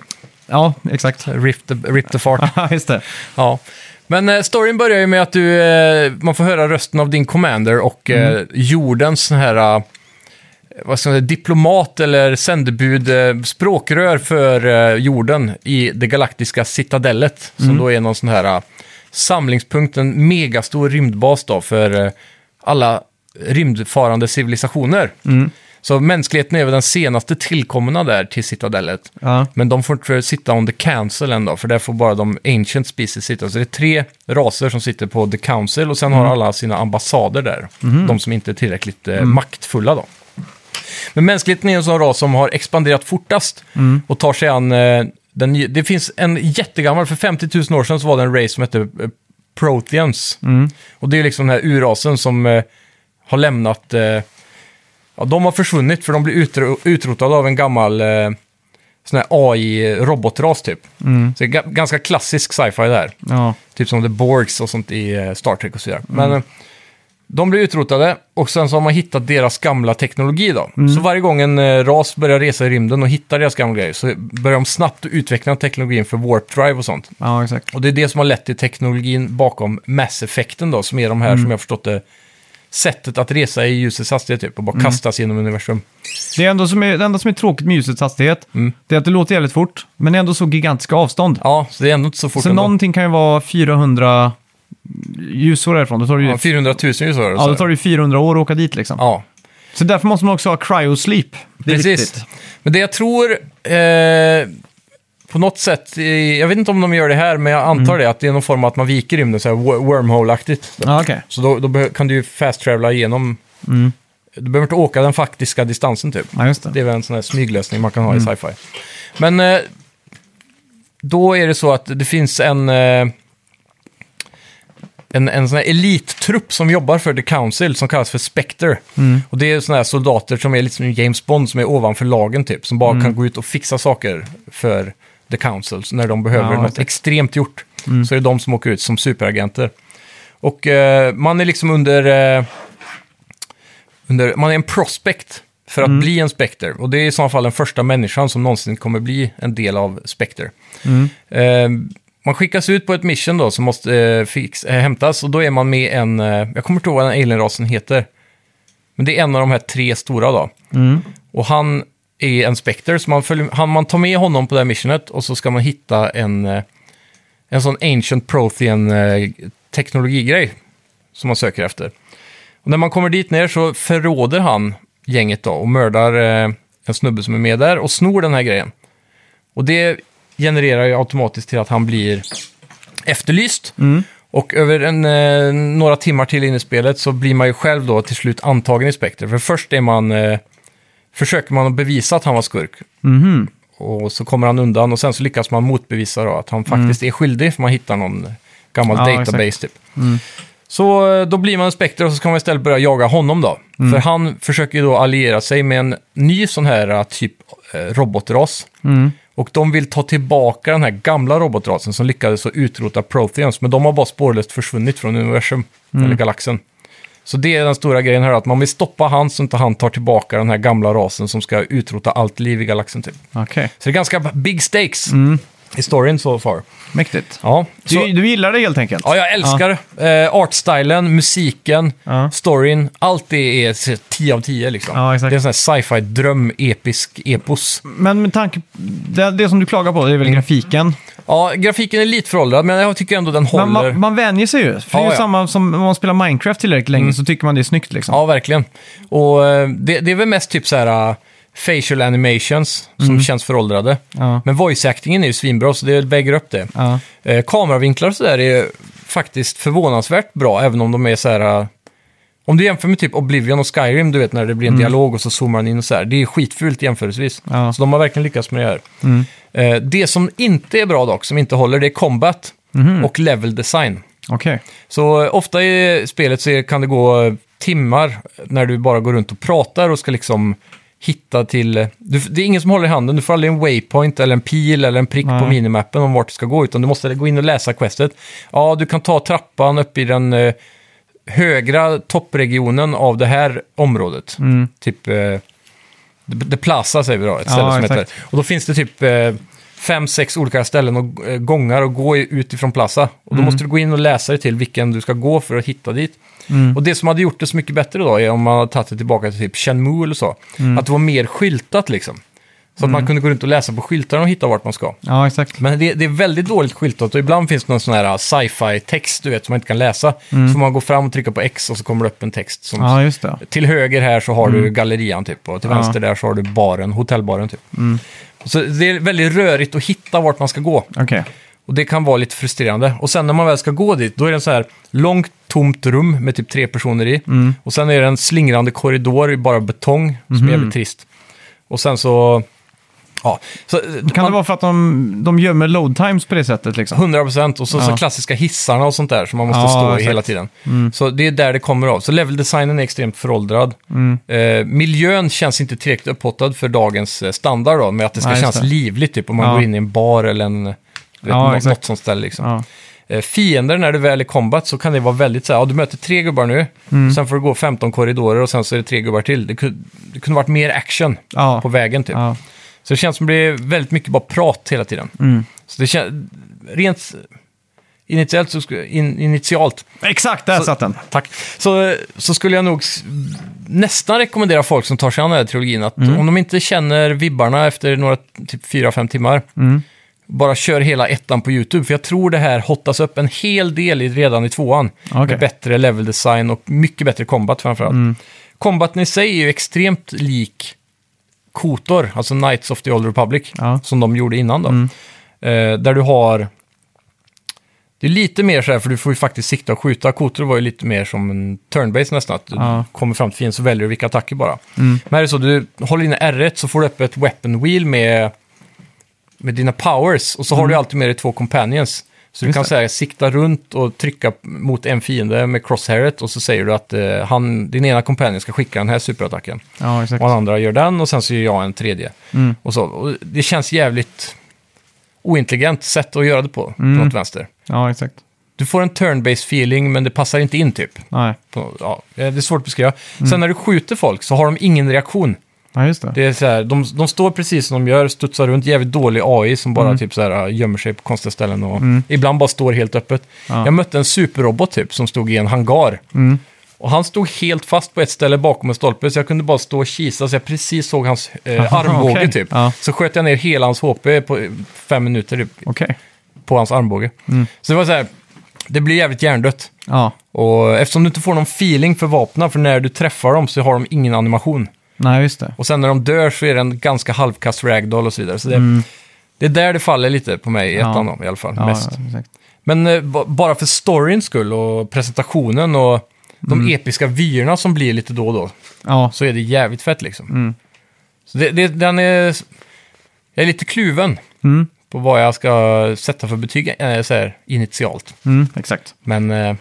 Speaker 1: Ja, exakt.
Speaker 2: Rip the, rip the fart.
Speaker 1: Ja, Just det.
Speaker 2: ja. Men eh, storyn börjar ju med att du, eh, man får höra rösten av din commander och eh, jordens sån här, eh, vad ska man säga, diplomat eller sändebud, eh, språkrör för eh, jorden i det galaktiska citadellet. Som då är någon sån här eh, samlingspunkt, en megastor rymdbas då för eh, alla rymdfarande civilisationer. Så mänskligheten är väl den senaste tillkomna där till citadellet.
Speaker 1: Ja.
Speaker 2: Men de får inte sitta on the council ändå, för där får bara de ancient species sitta. Så det är tre raser som sitter på the council och sen har alla sina ambassader där. De som inte är tillräckligt eh, maktfulla då. Men mänskligheten är en sån ras som har expanderat fortast och tar sig an... Eh, den, ny- det finns en jättegammal, för 50 000 år sedan så var det en race som hette eh, Proteans. Och det är liksom den här urasen som eh, har lämnat... Eh, Ja, de har försvunnit för de blir utro- utrotade av en gammal eh, sån här AI-robotras typ. Så det är ga- ganska klassisk sci-fi där.
Speaker 1: Ja.
Speaker 2: Typ som The Borgs och sånt i eh, Star Trek och så vidare. Men
Speaker 1: Mm.
Speaker 2: eh, de blir utrotade och sen så har man hittat deras gamla teknologi då.
Speaker 1: Mm.
Speaker 2: Så varje gång en eh, ras börjar resa i rymden och hittar deras gamla grejer så börjar de snabbt utveckla teknologin för warp drive och sånt.
Speaker 1: ja, exakt.
Speaker 2: Och det är det som har lett till teknologin bakom mass-effekten då, som är de här,
Speaker 1: Mm.
Speaker 2: som jag har förstått det, sättet att resa i ljusets hastighet typ, och bara
Speaker 1: Mm.
Speaker 2: kastas genom universum.
Speaker 1: Det, är ändå som är, det enda som är tråkigt med ljusets hastighet det är att det låter jävligt fort, men det är ändå så gigantiska avstånd.
Speaker 2: Mm. Ja, så det är ändå inte så fort
Speaker 1: så
Speaker 2: ändå.
Speaker 1: någonting kan ju vara 400 ljusår härifrån. Då tar det ju,
Speaker 2: Ja, 400 000 ljusår.
Speaker 1: ja, då tar det ju 400 år att åka dit liksom.
Speaker 2: ja,
Speaker 1: Så därför måste man också ha cryosleep. Det är
Speaker 2: precis.
Speaker 1: viktigt.
Speaker 2: Men det jag tror, eh, på något sätt, eh, jag vet inte om de gör det här, men jag antar
Speaker 1: Mm.
Speaker 2: det, att det är någon form av att man viker rymden, så här wo- wormhole-aktigt.
Speaker 1: Ja, okej.
Speaker 2: Så då, då behö- kan du ju fast-travela igenom,
Speaker 1: Mm.
Speaker 2: du behöver inte åka den faktiska distansen typ.
Speaker 1: Ja, just det.
Speaker 2: Det är väl en sån här smyglösning man kan ha
Speaker 1: Mm.
Speaker 2: i sci-fi. Men eh, då är det så att det finns en, eh, en, en sån här elittrupp som jobbar för The Council som kallas för Spectre. Och det är såna här soldater som är lite som James Bond som är ovanför lagen typ, som bara kan gå ut och fixa saker för The Council Så när de behöver
Speaker 1: Ja,
Speaker 2: något
Speaker 1: exakt.
Speaker 2: extremt gjort. Så är det de som åker ut som superagenter. Och eh, man är liksom under... Eh, under, man är en prospect för att bli en Spectre. Och det är i så fall den första människan som någonsin kommer bli en del av Spectre. Eh, man skickas ut på ett mission då som måste eh, fix, eh, hämtas och då är man med en, eh, jag kommer inte ihåg vad den alienrasen heter. Men det är en av de här tre stora då. Och han är en Spectre, så man, följer, han, man tar med honom på det här missionet och så ska man hitta en, eh, en sån ancient Prothean eh, teknologigrej som man söker efter. Och när man kommer dit ner så förråder han gänget då och mördar eh, en snubbe som är med där och snor den här grejen. Och det genererar ju automatiskt till att han blir efterlyst. Och över en, eh, några timmar till in i spelet så blir man ju själv då till slut antagen i Spectre. För först är man, eh, försöker man att bevisa att han var skurk. Och så kommer han undan och sen så lyckas man motbevisa då att han faktiskt är skyldig för man hittar någon gammal
Speaker 1: Ja,
Speaker 2: database typ. Så eh, då blir man en Spectre och så kan man istället börja jaga honom då. För han försöker ju då alliera sig med en ny sån här eh, typ eh, robotras. Och de vill ta tillbaka den här gamla robotrasen som lyckades att utrota Protheans. Men de har bara spårlöst försvunnit från universum, eller galaxen. Så det är den stora grejen här, att man vill stoppa han så inte han tar tillbaka den här gamla rasen som ska utrota allt liv i galaxen typ.
Speaker 1: Okej,
Speaker 2: Så det är ganska big stakes i storyn so far.
Speaker 1: mäktigt.
Speaker 2: Ja, så,
Speaker 1: Du, du gillar Mm. det helt enkelt?
Speaker 2: ja jag älskar eh, artstylen, musiken,
Speaker 1: Ja.
Speaker 2: storyn. Allt det är så 10 av 10 liksom.
Speaker 1: Ja, exakt.
Speaker 2: Det är en sån här sci-fi dröm, episk epos.
Speaker 1: Men med tanke det, det som du klagar på det
Speaker 2: Mm.
Speaker 1: är väl grafiken.
Speaker 2: Ja, grafiken är lite föråldrad, men jag tycker ändå den håller.
Speaker 1: Men man, man vänjer sig ju. För det är
Speaker 2: Ja, Mm.
Speaker 1: ju
Speaker 2: ja.
Speaker 1: samma som om man spelar Minecraft tillräckligt länge så tycker man det är snyggt liksom.
Speaker 2: Ja, verkligen. Och eh, det, det är väl mest typ så här... eh, facial animations som känns föråldrade.
Speaker 1: Mm. Ja.
Speaker 2: Men voice-actingen är ju svinbra, så det väger upp det.
Speaker 1: Ja.
Speaker 2: Eh, kameravinklar och sådär är faktiskt förvånansvärt bra, även om de är så här... eh, Om du jämför med typ Oblivion och Skyrim, du vet när det blir en dialog och så zoomar den in och så här. Det är skitfult jämförelsevis.
Speaker 1: Mm. Ja. Mm.
Speaker 2: Så de har verkligen lyckats med det här. Eh, det som inte är bra dock, som inte håller, det är combat
Speaker 1: Mhm.
Speaker 2: och level design.
Speaker 1: Okej.
Speaker 2: Så eh, ofta i spelet så är- kan det gå eh, timmar när du bara går runt och pratar och ska liksom hitta till... eh, Du, det är ingen som håller i handen, du får aldrig en waypoint eller en pil eller en prick på
Speaker 1: Nej.
Speaker 2: minimappen om vart du ska gå, utan du måste gå in och läsa questet. Ja, du kan ta trappan upp i den eh, högra toppregionen av det här området. Typ... Eh, The The Plaza säger vi då, ett ställe som
Speaker 1: exakt.
Speaker 2: heter. Och då finns det typ eh, fem, sex olika ställen och eh, gångar att gå i- utifrån Plaza. Och då måste du gå in och läsa dig till vilken du ska gå för att hitta dit. Och det som hade gjort det så mycket bättre då är om man hade tagit det tillbaka till typ Chenmu eller så. Att det var mer skyltat liksom. Så att man kunde gå runt och läsa på skyltarna och hitta vart man ska.
Speaker 1: Ja, exakt.
Speaker 2: Men det, det är väldigt dåligt skyltat och ibland finns det någon sån här ah, sci-fi text du vet som man inte kan läsa. Så får man går fram och trycker på X och så kommer det upp en text som
Speaker 1: Ja, just det.
Speaker 2: till höger här så har du gallerian typ och till vänster där så har du baren, hotellbaren typ. Så det är väldigt rörigt att hitta vart man ska gå
Speaker 1: Okej.
Speaker 2: och det kan vara lite frustrerande. Och sen när man väl ska gå dit, då är det en så här långt tomt rum med typ tre personer i. Och sen är det en slingrande korridor i bara betong som är jävligt trist. Och sen så... Ja, så
Speaker 1: Kan det vara för att de, de gömmer load times på det sättet liksom?
Speaker 2: 100 procent. Och så, så
Speaker 1: Ja.
Speaker 2: klassiska hissarna och sånt där som man måste
Speaker 1: Ja,
Speaker 2: stå i
Speaker 1: exakt. Mm.
Speaker 2: hela tiden. Så det är där det kommer av. Så leveldesignen är extremt föråldrad.
Speaker 1: Mm.
Speaker 2: Eh, miljön känns inte tillräckligt upphottad för dagens eh, standard då, med att det ska
Speaker 1: Nej, just
Speaker 2: kännas
Speaker 1: det.
Speaker 2: livligt, typ om man
Speaker 1: Ja.
Speaker 2: går in i en bar eller en, du vet,
Speaker 1: Ja,
Speaker 2: nå-
Speaker 1: exakt.
Speaker 2: något sånt ställe. Liksom.
Speaker 1: Ja.
Speaker 2: Eh, fiender, när du väl är i combat, så kan det vara väldigt så här, ja, du möter tre gubbar nu,
Speaker 1: Mm.
Speaker 2: sen får du gå 15 korridorer och sen så är det tre gubbar till. Det kunde, det kunde varit mer action
Speaker 1: Ja.
Speaker 2: på vägen typ.
Speaker 1: Ja.
Speaker 2: Så det känns som det blir väldigt mycket bara prat hela tiden.
Speaker 1: Mm.
Speaker 2: Så det känns... Rent initialt så, sku- in, initialt,
Speaker 1: Exakt, där satt den.
Speaker 2: tack, så, så skulle jag nog s- nästan rekommendera folk som tar sig an den här trilogin att
Speaker 1: Mm.
Speaker 2: om de inte känner vibbarna efter några typ 4-5 timmar,
Speaker 1: Mm.
Speaker 2: bara kör hela ettan på YouTube. För jag tror det här hottas upp en hel del i, redan i tvåan.
Speaker 1: Okej. Mm.
Speaker 2: Med bättre level design och mycket bättre combat framförallt. Combaten i sig är ju extremt lik Kotor, alltså Knights of the Old Republic,
Speaker 1: Ja. Mm.
Speaker 2: som de gjorde innan då. Eh, där du har... Det är lite mer så här, för du får ju faktiskt sikta och skjuta. Kotor var ju lite mer som en turn-base nästan, att du
Speaker 1: Ja. Mm.
Speaker 2: kommer fram till fienden så väljer du vilka attacker bara. Men här är det så, du håller inne R1 så får du upp ett weapon wheel med, med dina powers och så har du alltid med dig två companions. Så
Speaker 1: Mm.
Speaker 2: du
Speaker 1: Just
Speaker 2: kan
Speaker 1: det.
Speaker 2: säga sikta runt och trycka mot en fiende med crosshairet och så säger du att eh, han, din ena companion ska skicka den här superattacken.
Speaker 1: Ja, exakt. Mm.
Speaker 2: Och den andra gör den och sen så gör jag en tredje. Och så. Och det känns jävligt ointelligent sätt att göra det på,
Speaker 1: Mm.
Speaker 2: på något vänster.
Speaker 1: Ja, exakt.
Speaker 2: Du får en turn-based feeling men det passar inte in typ.
Speaker 1: Nej.
Speaker 2: På, ja, eh, det är svårt att beskriva.
Speaker 1: Mm.
Speaker 2: Sen när du skjuter folk så har de ingen reaktion.
Speaker 1: Ja, just det.
Speaker 2: Det är så här, de, de står precis som de gör, studsar runt, jävligt dålig AI som
Speaker 1: Mm.
Speaker 2: bara typ så här, äh, gömmer sig på konstiga ställen och ibland bara står helt öppet. Jag mötte en superrobot typ som stod i en hangar.
Speaker 1: Mm.
Speaker 2: Och han stod helt fast på ett ställe bakom en stolpe så jag kunde bara stå och kisa så jag precis såg hans eh,
Speaker 1: Aha,
Speaker 2: armbåge
Speaker 1: okej.
Speaker 2: typ.
Speaker 1: Ja.
Speaker 2: Så sköt jag ner hela hans HP på eh, fem minuter typ,
Speaker 1: Okej.
Speaker 2: på hans armbåge.
Speaker 1: Mm.
Speaker 2: Så det var så här, det blir jävligt hjärndött.
Speaker 1: Ja.
Speaker 2: Och eftersom du inte får någon feeling för vapnen, för när du träffar dem så har de ingen animation.
Speaker 1: Nej, just det.
Speaker 2: Och sen när de dör så är det en ganska halvkass ragdoll och så vidare. Så det, det är där det faller lite på mig i
Speaker 1: Mm. Ja.
Speaker 2: ettan då, i alla fall.
Speaker 1: Ja,
Speaker 2: mest.
Speaker 1: exakt.
Speaker 2: Men eh, ba- bara för storyns skull och presentationen och de
Speaker 1: Mm.
Speaker 2: episka vyerna som blir lite då och då
Speaker 1: Ja.
Speaker 2: så är det jävligt fett liksom.
Speaker 1: Mm.
Speaker 2: Så det, det, den är... Jag är lite kluven
Speaker 1: Mm.
Speaker 2: på vad jag ska sätta för betyg eh, så här, initialt.
Speaker 1: Mm, exakt.
Speaker 2: Men eh,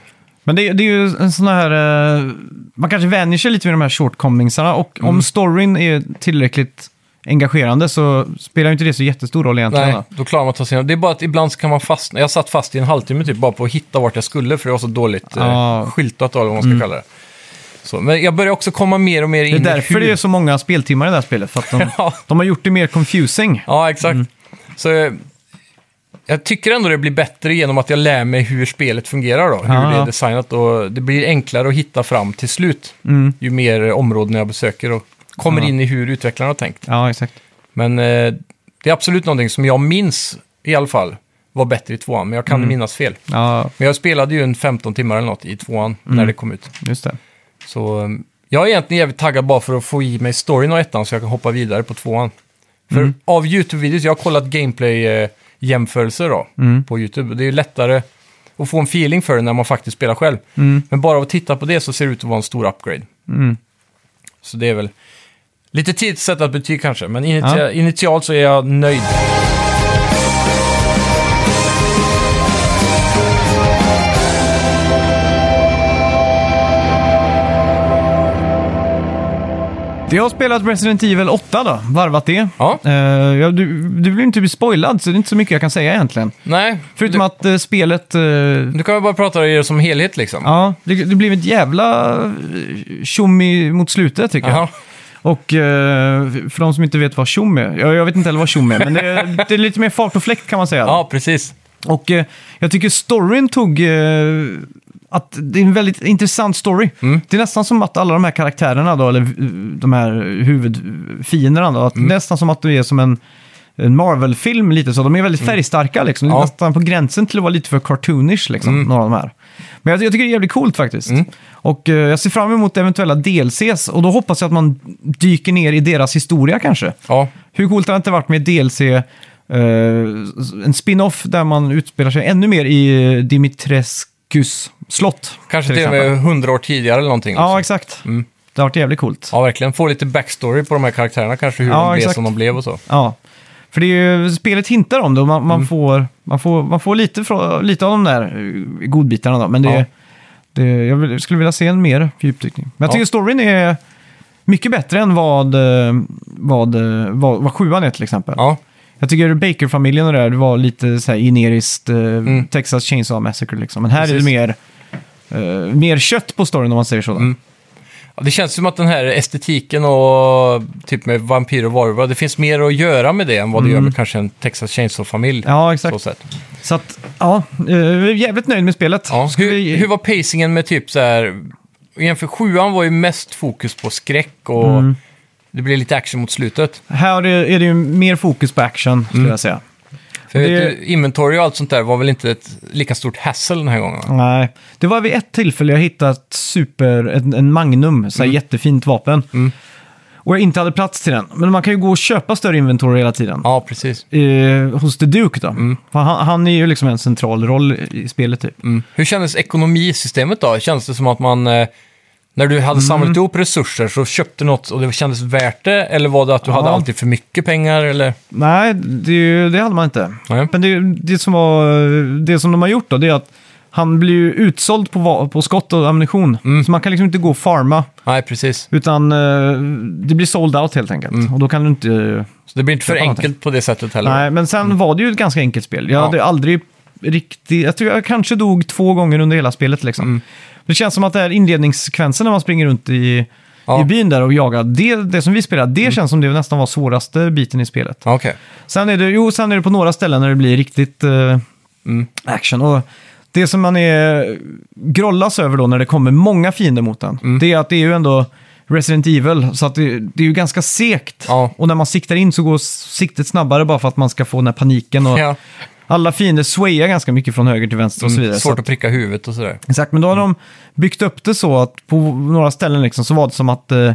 Speaker 1: Men det, det är ju en sån här... eh, man kanske vänjer sig lite vid de här shortcomingsarna och om storyn är tillräckligt engagerande så spelar ju inte det så jättestor roll egentligen.
Speaker 2: nej,
Speaker 1: va?
Speaker 2: då klarar man att ta sig igenom. Det är bara att ibland så kan man fastna. Jag satt fast i en halvtimme typ bara på att hitta vart jag skulle för det var så dåligt
Speaker 1: Ja.
Speaker 2: eh, skyltat eller vad man ska kalla det. Så, men jag börjar också komma mer och mer in
Speaker 1: Mm. Det är
Speaker 2: i
Speaker 1: därför
Speaker 2: hur-
Speaker 1: det är så många speltimmar i det här spelet, för att de,
Speaker 2: Ja.
Speaker 1: de har gjort det mer confusing.
Speaker 2: Ja, exakt.
Speaker 1: Mm.
Speaker 2: Så eh, jag tycker ändå det blir bättre genom att jag lär mig hur spelet fungerar då. Hur
Speaker 1: Ja,
Speaker 2: det är
Speaker 1: ja.
Speaker 2: designat och det blir enklare att hitta fram till slut.
Speaker 1: Mm.
Speaker 2: Ju mer eh, områden jag besöker och kommer
Speaker 1: Ah.
Speaker 2: in i hur utvecklarna har tänkt.
Speaker 1: Ja, exakt.
Speaker 2: Men eh, det är absolut någonting som jag minns i alla fall var bättre i tvåan, men jag
Speaker 1: Mm.
Speaker 2: kan minnas fel.
Speaker 1: Ja, Mm.
Speaker 2: Men jag spelade ju en 15 timmar eller något i tvåan när det kom ut.
Speaker 1: just det.
Speaker 2: Så eh, Jag är egentligen jävligt taggad bara för att få i mig storyn av ettan så jag kan hoppa vidare på tvåan. För
Speaker 1: Mm.
Speaker 2: av YouTube-videos, jag har kollat gameplay-jämförelser då
Speaker 1: Mm.
Speaker 2: på YouTube. och Det är ju lättare att få en feeling för det när man faktiskt spelar själv.
Speaker 1: Mm.
Speaker 2: Men bara av att titta på det så ser det ut att vara en stor upgrade. Så det är väl lite tidigt att sätta ett betyg kanske, men initia-
Speaker 1: Ja.
Speaker 2: initialt så är jag nöjd.
Speaker 1: Jag har spelat Resident Evil 8 då, varvat det.
Speaker 2: Ja.
Speaker 1: Eh, ja, du, du blir inte spoilad, så det är inte så mycket jag kan säga egentligen.
Speaker 2: Nej,
Speaker 1: Förutom
Speaker 2: du,
Speaker 1: att eh, spelet... eh,
Speaker 2: du kan väl bara prata om det som helhet liksom.
Speaker 1: ja, det, det blev ett jävla eh, tjom i- mot slutet tycker jag.
Speaker 2: Jaha.
Speaker 1: Och eh, för de som inte vet vad tjom är, jag, jag vet inte heller vad tjom är, men det, är- det är lite mer fart och fläkt kan man säga.
Speaker 2: Ja, precis.
Speaker 1: Och eh, jag tycker storyn tog... Eh, att det är en väldigt intressant story. Det är nästan som att alla de här karaktärerna då, eller eh, de här huvudfienderna då, att nästan som att du är som en, en Marvel-film lite så. De är väldigt färgstarka liksom. Det är
Speaker 2: Ja.
Speaker 1: Nästan på gränsen till att vara lite för cartoonish liksom, några av de här. Men jag, jag tycker det är jävligt coolt faktiskt. Och eh, jag ser fram emot eventuella DLCs och då hoppas jag att man dyker ner i deras historia kanske.
Speaker 2: Ja.
Speaker 1: Hur coolt hade det inte varit med DLC, eh, en spin-off där man utspelar sig ännu mer i eh, Dimitrescus slott?
Speaker 2: Kanske
Speaker 1: till
Speaker 2: till och med liksom. Mm.
Speaker 1: exempel.
Speaker 2: hundra år tidigare eller någonting.
Speaker 1: Ja,
Speaker 2: också.
Speaker 1: exakt. Det har varit jävligt coolt. Ja.
Speaker 2: ja, verkligen. Få lite backstory på de här karaktärerna kanske, hur
Speaker 1: Ja,
Speaker 2: de blev
Speaker 1: exakt.
Speaker 2: som de blev och så.
Speaker 1: För det är ju, spelet hintar om det och man, man,
Speaker 2: Mm.
Speaker 1: får, man, får, man får lite, frå, lite av de där eh, godbitarna då. Men det,
Speaker 2: Ja.
Speaker 1: det, jag vill, skulle vilja se en mer fördjupdykning. Men jag
Speaker 2: Ja.
Speaker 1: tycker storyn är mycket bättre än vad, eh, vad, eh, vad, vad sjuan är till exempel.
Speaker 2: Ja,
Speaker 1: Jag tycker Baker-familjen och det där, det var lite så här generiskt eh, Texas Chainsaw Massacre liksom. Men här är
Speaker 2: Mm. Precis.
Speaker 1: det mer, eh, mer kött på storyn om man säger så. då.
Speaker 2: Mm. Ja, Det känns som att den här estetiken och typ med vampyrer och varulvar, det finns mer att göra med det än vad det gör med kanske en Texas Chainsaw-familj.
Speaker 1: Mm. Ja,
Speaker 2: Så
Speaker 1: exakt. Så,
Speaker 2: sätt.
Speaker 1: att, ja, eh, jag är jävligt nöjd med spelet.
Speaker 2: Ja.
Speaker 1: Ska
Speaker 2: Hur,
Speaker 1: vi-
Speaker 2: hur var pacingen med typ så här... Jämför sjuan var ju mest fokus på skräck och
Speaker 1: Mm.
Speaker 2: det blev lite action mot slutet.
Speaker 1: Här är det, är det ju mer fokus på action,
Speaker 2: Mm.
Speaker 1: skulle jag säga.
Speaker 2: För jag
Speaker 1: Det-
Speaker 2: vet ju, inventory och allt sånt där var väl inte ett lika stort hassle den här gången? va?
Speaker 1: Nej, det var vid ett tillfälle jag hittat super, en, en Magnum, så här
Speaker 2: Mm.
Speaker 1: jättefint vapen. Och jag inte hade plats till den. Men man kan ju gå och köpa större inventory hela tiden.
Speaker 2: Ja, Mm. precis.
Speaker 1: Eh, hos The Duke då. För Han, han är ju liksom en central roll i- i spelet typ.
Speaker 2: Mm. Hur kändes ekonomisystemet då? Kändes det som att man... eh, När du hade
Speaker 1: Mm.
Speaker 2: samlat ihop resurser så köpte något och det kändes värt det? Eller var det att du hade
Speaker 1: Ja.
Speaker 2: alltid för mycket pengar? Eller?
Speaker 1: Nej, det, det hade man inte.
Speaker 2: Nej.
Speaker 1: Men det, det, som var, det som de har gjort då, det är att han blir ju utsåld på, va- på skott och ammunition.
Speaker 2: Mm.
Speaker 1: Så man kan liksom inte gå och farma,
Speaker 2: Nej, precis.
Speaker 1: utan eh, det blir sold out helt enkelt.
Speaker 2: Mm.
Speaker 1: Och då kan du inte...
Speaker 2: Så det blir inte för
Speaker 1: Köpa någonting.
Speaker 2: enkelt på det sättet heller.
Speaker 1: Nej, men sen var det ju ett ganska enkelt spel. Jag
Speaker 2: Mm. Ja.
Speaker 1: hade aldrig riktigt... Jag tror jag kanske dog två gånger under hela spelet liksom.
Speaker 2: Mm.
Speaker 1: Det känns som att det här inledningssekvensen när man springer runt i,
Speaker 2: Ja. Mm.
Speaker 1: i byn där och jagar, det, det som vi spelade, det känns som det nästan var svåraste biten i spelet.
Speaker 2: Ja, Okej.
Speaker 1: Sen är det, jo, sen är det på några ställen när det blir riktigt eh, action. Och det som man är grollas över då när det kommer många fiender mot en,
Speaker 2: Mm.
Speaker 1: det är att det är ju ändå Resident Evil, så att det, det är ju ganska segt.
Speaker 2: Ja.
Speaker 1: Och när man siktar in så går s- siktet snabbare bara för att man ska få den här paniken. Och
Speaker 2: Ja.
Speaker 1: Alla fiender swayar ganska mycket från höger till vänster och så vidare.
Speaker 2: Mm,
Speaker 1: Så
Speaker 2: svårt att pricka huvudet och sådär.
Speaker 1: Exakt, men då
Speaker 2: Mm.
Speaker 1: har de byggt upp det så att på några ställen liksom så var det som att, eh,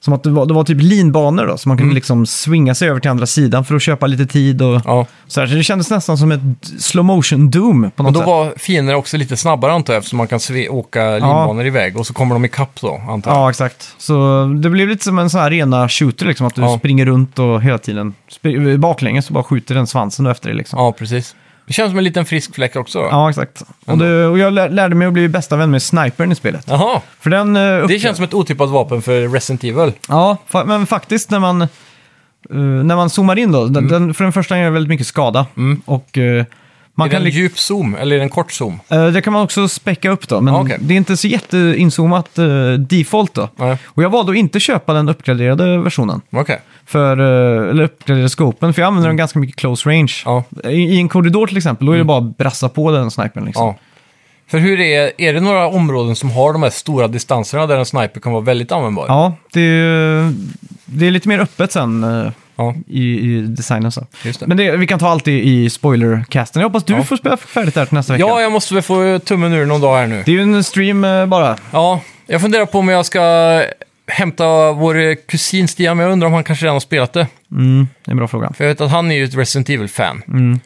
Speaker 1: som att det, var, det var typ linbanor då, så man kunde
Speaker 2: Mm.
Speaker 1: liksom svinga sig över till andra sidan för att köpa lite tid och
Speaker 2: Ja.
Speaker 1: så, här, så det kändes nästan som ett slow motion doom på
Speaker 2: Men
Speaker 1: något
Speaker 2: då
Speaker 1: sätt.
Speaker 2: var fiender också lite snabbare antar jag, eftersom man kan sve- åka linbanor iväg och så kommer de ikapp då, antar jag.
Speaker 1: Ja, exakt. Så det blev lite som en sån här rena shooter, liksom, att du
Speaker 2: Ja.
Speaker 1: springer runt och hela tiden sp- baklänges och bara skjuter den svansen efter dig. Liksom.
Speaker 2: Ja, precis. Det känns som en liten frisk fläck också. Då.
Speaker 1: Ja, exakt. Och, det, och jag lär, lärde mig att bli bästa vän med snipern i spelet.
Speaker 2: Jaha,
Speaker 1: För den, eh,
Speaker 2: det
Speaker 1: upp-
Speaker 2: känns som ett otippat vapen för Resident Evil.
Speaker 1: Ja, fa- men faktiskt när man, eh, när man zoomar in då,
Speaker 2: Mm.
Speaker 1: den, den, för den första gör väldigt mycket skada. Och, eh, man
Speaker 2: Är det
Speaker 1: kan
Speaker 2: en
Speaker 1: li-
Speaker 2: djup zoom eller är det en kort zoom?
Speaker 1: eh, det kan man också späcka upp då, men
Speaker 2: Ah, okej.
Speaker 1: det är inte så jätteinzoomat eh, default då.
Speaker 2: Nej.
Speaker 1: Och jag valde att inte köpa den uppgraderade versionen,
Speaker 2: Okej.
Speaker 1: för, eh, eller uppgraderade scopen, för jag använder den ganska mycket close range.
Speaker 2: Mm. Ja. Mm.
Speaker 1: I, I en korridor till exempel, då är det bara att brassa på den snipern liksom.
Speaker 2: Ja. För hur är, är det några områden som har de här stora distanserna där en sniper kan vara väldigt användbar?
Speaker 1: Ja, det, är- det är lite mer öppet sen eh,
Speaker 2: Ja.
Speaker 1: i, i designen. Så.
Speaker 2: Just det.
Speaker 1: Men det, vi kan ta allt i, i spoilercasten. Jag hoppas du
Speaker 2: Ja.
Speaker 1: får spela färdigt där till nästa vecka.
Speaker 2: Ja, jag måste väl få tummen ur någon dag här nu.
Speaker 1: Det är ju en stream eh, bara.
Speaker 2: Ja, Jag funderar på om jag ska hämta vår kusin Stian, men jag undrar om han kanske redan har spelat det.
Speaker 1: Mm, det är en bra fråga.
Speaker 2: För jag vet att han är ju ett Resident Evil-fan.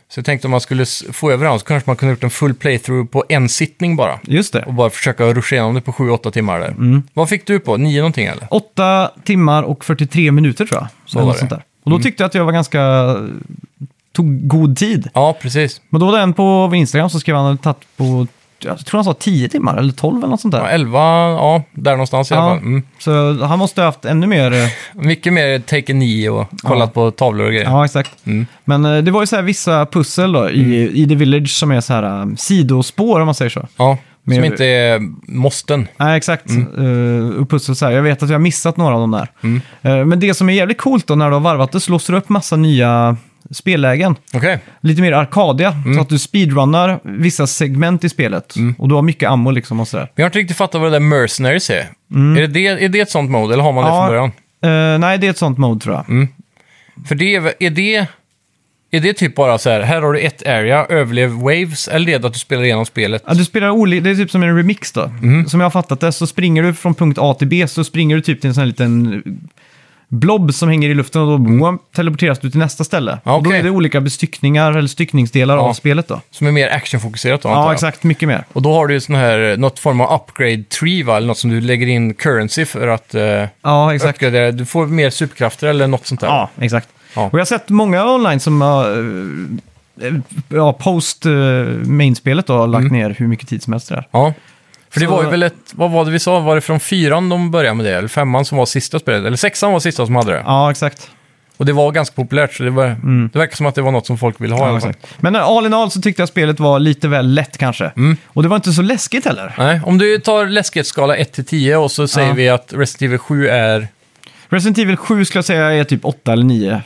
Speaker 2: Så jag tänkte om man skulle s- få över honom så kanske man kunde gjort en full playthrough på en sittning bara.
Speaker 1: Just det.
Speaker 2: Och bara försöka ruscha igenom det på 7-8 timmar där. Vad fick du på? 9 någonting eller?
Speaker 1: 8 timmar och 43 minuter tror jag.
Speaker 2: Så
Speaker 1: Eller
Speaker 2: var
Speaker 1: något
Speaker 2: det. Mm.
Speaker 1: Sånt där. Och då tyckte jag att jag var ganska... Tog god tid.
Speaker 2: Ja, precis.
Speaker 1: Men då var det en på Instagram som skrev att han hade tagit på... Jag tror han sa 10 timmar eller 12 eller något sånt där.
Speaker 2: Ja, 11, ja, där någonstans i alla fall. Mm.
Speaker 1: Så han måste ha haft ännu mer... eh,
Speaker 2: Mycket mer Taken 9 och kollat på tavlor och grejer.
Speaker 1: Ja, exakt.
Speaker 2: Mm.
Speaker 1: Men eh, det var ju så här vissa pussel då, i, i The Village som är så här eh, sidospår om man säger så.
Speaker 2: Ja, som
Speaker 1: Mer-
Speaker 2: inte är måsten.
Speaker 1: Nej, exakt.
Speaker 2: Mm.
Speaker 1: Eh, och pussel så här. Jag vet att jag har missat några av dem där. Eh, men det som är jävligt coolt då när du har varvat det så låser du upp massa nya spellägen.
Speaker 2: Okej.
Speaker 1: Lite mer arkadiga,
Speaker 2: Mm.
Speaker 1: så att du speedrunnar vissa segment i spelet. Och du har mycket ammo liksom och sådär.
Speaker 2: Men jag har inte riktigt fattat vad det där Mercenaries är.
Speaker 1: Mm.
Speaker 2: Är, det det, är det ett sånt mode eller har man det från början? Mm.
Speaker 1: eh, nej, det är ett sånt mode tror jag.
Speaker 2: För det är, är det... Är det typ bara så här, här har du ett area, överlev waves, eller är det att du spelar igenom spelet?
Speaker 1: Ja, du spelar oli- det är typ som en remix då.
Speaker 2: Mm.
Speaker 1: Som jag har fattat det så springer du från punkt A till B så springer du typ till en sån här liten blob som hänger i luften och då boom, teleporteras du till nästa ställe.
Speaker 2: Mm. Ja,
Speaker 1: Och då
Speaker 2: okej.
Speaker 1: är det olika bestyckningar eller styckningsdelar
Speaker 2: Ja.
Speaker 1: av spelet då.
Speaker 2: Som är mer actionfokuserat då, antar
Speaker 1: Ja,
Speaker 2: jag.
Speaker 1: exakt. Mycket mer.
Speaker 2: Och då har du ju sån här, något form av upgrade tree va? Eller något som du lägger in currency för att eh,
Speaker 1: Ja, exakt.
Speaker 2: uppgradera. Du får mer superkrafter eller något sånt där.
Speaker 1: Ja, exakt.
Speaker 2: Ja.
Speaker 1: Och jag har sett många online som har eh, ja, post eh, mainspelet då, har lagt ner hur mycket tid som helst i det där.
Speaker 2: Ja. För det
Speaker 1: Så-
Speaker 2: var ju väl ett, vad var det vi sa, var det från fyran de började med det? Eller femman som var sista spelet? Eller sexan var sista som hade det?
Speaker 1: Ja, exakt.
Speaker 2: Och det var ganska populärt, så det, var, det verkar som att det var något som folk ville ha i
Speaker 1: Ja,
Speaker 2: alla fall.
Speaker 1: exakt. Men eh, all in all så tyckte jag spelet var lite väl lätt kanske. Och det var inte så läskigt heller.
Speaker 2: Nej, om du tar läskighetsskala 1-10 och så säger
Speaker 1: Ja.
Speaker 2: vi att Resident Evil 7 är...
Speaker 1: Resident Evil 7 skulle jag säga är typ 8 eller 9. Eh,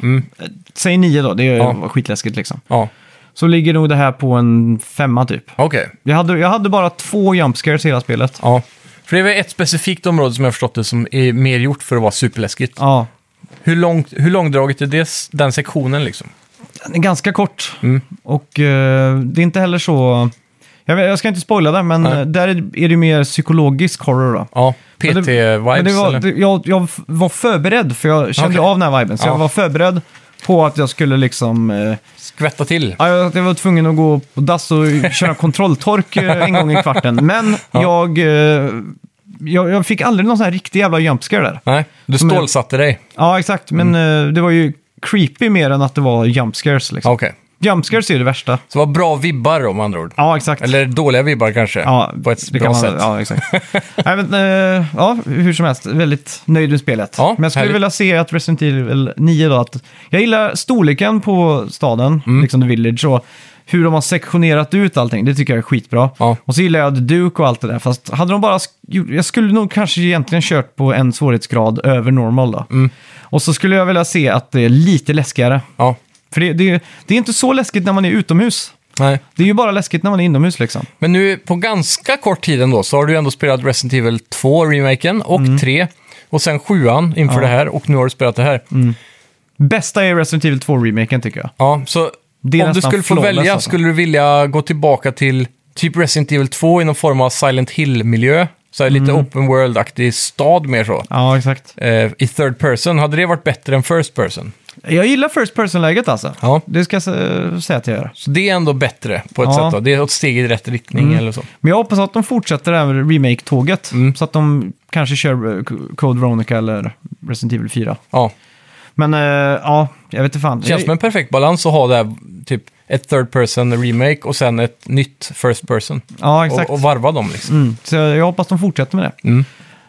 Speaker 1: Säg 9 då, det är
Speaker 2: Ja.
Speaker 1: skitläskigt liksom.
Speaker 2: Ja,
Speaker 1: Så ligger nog det här på en femma typ.
Speaker 2: okej.
Speaker 1: Jag hade, jag hade bara två jump scares i hela spelet.
Speaker 2: Ja. För det är väl ett specifikt område som jag har förstått det som är mer gjort för att vara superläskigt.
Speaker 1: Ja,
Speaker 2: Hur, långt, hur långdraget är det, den sektionen liksom?
Speaker 1: den är ganska kort.
Speaker 2: Mm.
Speaker 1: Och eh, det är inte heller så... Jag, vet, jag ska inte spoila det, men
Speaker 2: Nej.
Speaker 1: eh, där är det är det ju mer psykologisk horror då.
Speaker 2: Ja,
Speaker 1: Men det- Men det
Speaker 2: PT-vibes
Speaker 1: var,
Speaker 2: eller?
Speaker 1: det, jag, jag f- var förberedd, för jag kände
Speaker 2: Okej.
Speaker 1: av den här viben. Så
Speaker 2: Ja.
Speaker 1: jag var förberedd på att jag skulle liksom... Eh,
Speaker 2: Skvätta till.
Speaker 1: Ja, jag, jag var tvungen att gå på dass och köra kontrolltork eh, en gång i kvarten. Men jag, eh, jag, jag fick aldrig någon sån här riktig jävla jumpscare där.
Speaker 2: Nej, du
Speaker 1: Som är-
Speaker 2: stålsatte dig.
Speaker 1: Ja, exakt. Men
Speaker 2: Mm.
Speaker 1: eh, det var ju creepy mer än att det var jumpscares. Liksom.
Speaker 2: Ja, Okej.
Speaker 1: Jumpscares är ju det värsta.
Speaker 2: Så det var bra vibbar om andra ord.
Speaker 1: Ja, exakt.
Speaker 2: Eller dåliga vibbar kanske.
Speaker 1: ja,
Speaker 2: på ett
Speaker 1: det kan
Speaker 2: bra
Speaker 1: man-
Speaker 2: sätt. Ja.
Speaker 1: Ja, exakt. Nej, men, eh, ja, hur som helst, väldigt nöjd med spelet.
Speaker 2: Ja,
Speaker 1: men jag skulle
Speaker 2: härligt.
Speaker 1: vilja se att Resident Evil 9 då, att jag gillar storleken på staden,
Speaker 2: Mm.
Speaker 1: liksom The Village, och hur de har sektionerat ut allting, det tycker jag är skitbra.
Speaker 2: Ja.
Speaker 1: Och så gillar jag The Duke och allt det där, fast hade de bara... sk- gjort- Jag skulle nog kanske egentligen kört på en svårighetsgrad över normal då.
Speaker 2: Mm.
Speaker 1: Och så skulle jag vilja se att det är lite läskigare. För det, det, det är inte så läskigt när man är utomhus.
Speaker 2: Nej.
Speaker 1: Det är ju bara läskigt när man är inomhus liksom.
Speaker 2: Men nu på ganska kort tid ändå så har du ändå spelat Resident Evil 2, remaken, och
Speaker 1: Mm.
Speaker 2: 3. Och sen 7an inför det här och nu har du spelat det här.
Speaker 1: Mm. Bästa är Resident Evil 2-remaken tycker jag.
Speaker 2: Ja, så
Speaker 1: Det är
Speaker 2: om du
Speaker 1: nästan
Speaker 2: skulle få
Speaker 1: flawless,
Speaker 2: välja,
Speaker 1: alltså.
Speaker 2: skulle du vilja gå tillbaka till typ Resident Evil 2 i någon form av Silent Hill-miljö? Så här
Speaker 1: Mm.
Speaker 2: lite open world-aktig stad mer så.
Speaker 1: Ja, exakt.
Speaker 2: Eh, I third person, hade det varit bättre än first person?
Speaker 1: Jag gillar first person-läget alltså.
Speaker 2: Ja.
Speaker 1: Det ska jag sä- säga att jag gör.
Speaker 2: Så det är ändå bättre på ett
Speaker 1: Ja. Mm.
Speaker 2: sätt. Då. Det är ett steg i rätt riktning eller så.
Speaker 1: Men jag hoppas att de fortsätter det här med remake-tåget.
Speaker 2: Mm.
Speaker 1: Så att de kanske kör eh, Code Veronica eller Resident Evil 4.
Speaker 2: Ja.
Speaker 1: Men eh, ja, jag vet inte fan.
Speaker 2: Det känns som en perfekt balans att ha det här, typ ett third person remake och sen ett nytt first person.
Speaker 1: Ja, exakt.
Speaker 2: Och, och varva dem liksom.
Speaker 1: Mm, så jag hoppas de fortsätter med det.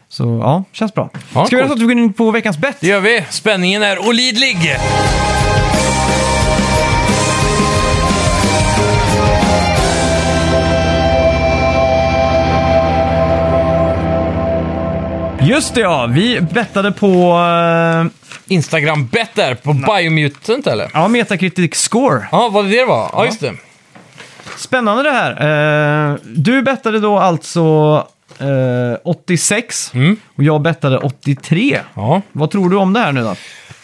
Speaker 1: Så ja, känns bra.
Speaker 2: Ja,
Speaker 1: ska vi göra så
Speaker 2: coolt.
Speaker 1: att vi går in på veckans bett?
Speaker 2: Det gör vi! Spänningen är olidlig!
Speaker 1: Just det ja, vi bettade på eh,
Speaker 2: Instagram bet där på Biomutant eller?
Speaker 1: ja, Metacritic Score.
Speaker 2: Ja, vad det var? Ja, just det.
Speaker 1: Spännande det här. Eh, du bettade då alltså eh, 86 och jag bettade 83.
Speaker 2: Mm. Ja.
Speaker 1: Vad tror du om det här nu då?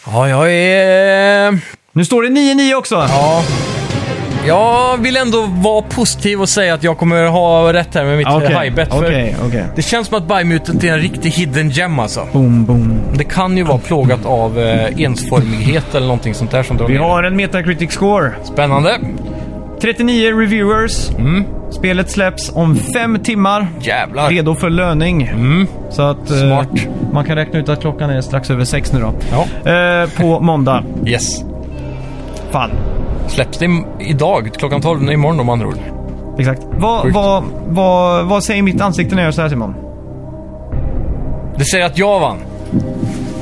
Speaker 2: Ja, jag är...
Speaker 1: Nu står det 9-9 också.
Speaker 2: Ja. Jag vill ändå vara positiv och säga att jag kommer ha rätt här med mitt
Speaker 1: Okej,
Speaker 2: okay. high-bet. för
Speaker 1: Okej, okej.
Speaker 2: Det känns som att Buymutet är en riktig hidden gem alltså.
Speaker 1: Boom, boom.
Speaker 2: Det kan ju vara plågat av eh, ensformighet eller någonting sånt där som drar
Speaker 1: Vi
Speaker 2: ner.
Speaker 1: har en Metacritic score.
Speaker 2: Spännande.
Speaker 1: 39 reviewers.
Speaker 2: Mm.
Speaker 1: Spelet släpps om fem timmar.
Speaker 2: Jävlar.
Speaker 1: Redo för löning. Så att eh,
Speaker 2: Mm. Smart.
Speaker 1: man kan räkna ut att klockan är strax över sex nu då.
Speaker 2: Ja.
Speaker 1: Eh, på måndag.
Speaker 2: Yes.
Speaker 1: Fan.
Speaker 2: Släpps det im- idag klockan 12 imorgon om andra ord.
Speaker 1: Exakt. Vad
Speaker 2: Sjukt.
Speaker 1: vad vad vad säger mitt ansikte när jag gör så här Simon?
Speaker 2: Det säger att jag vann.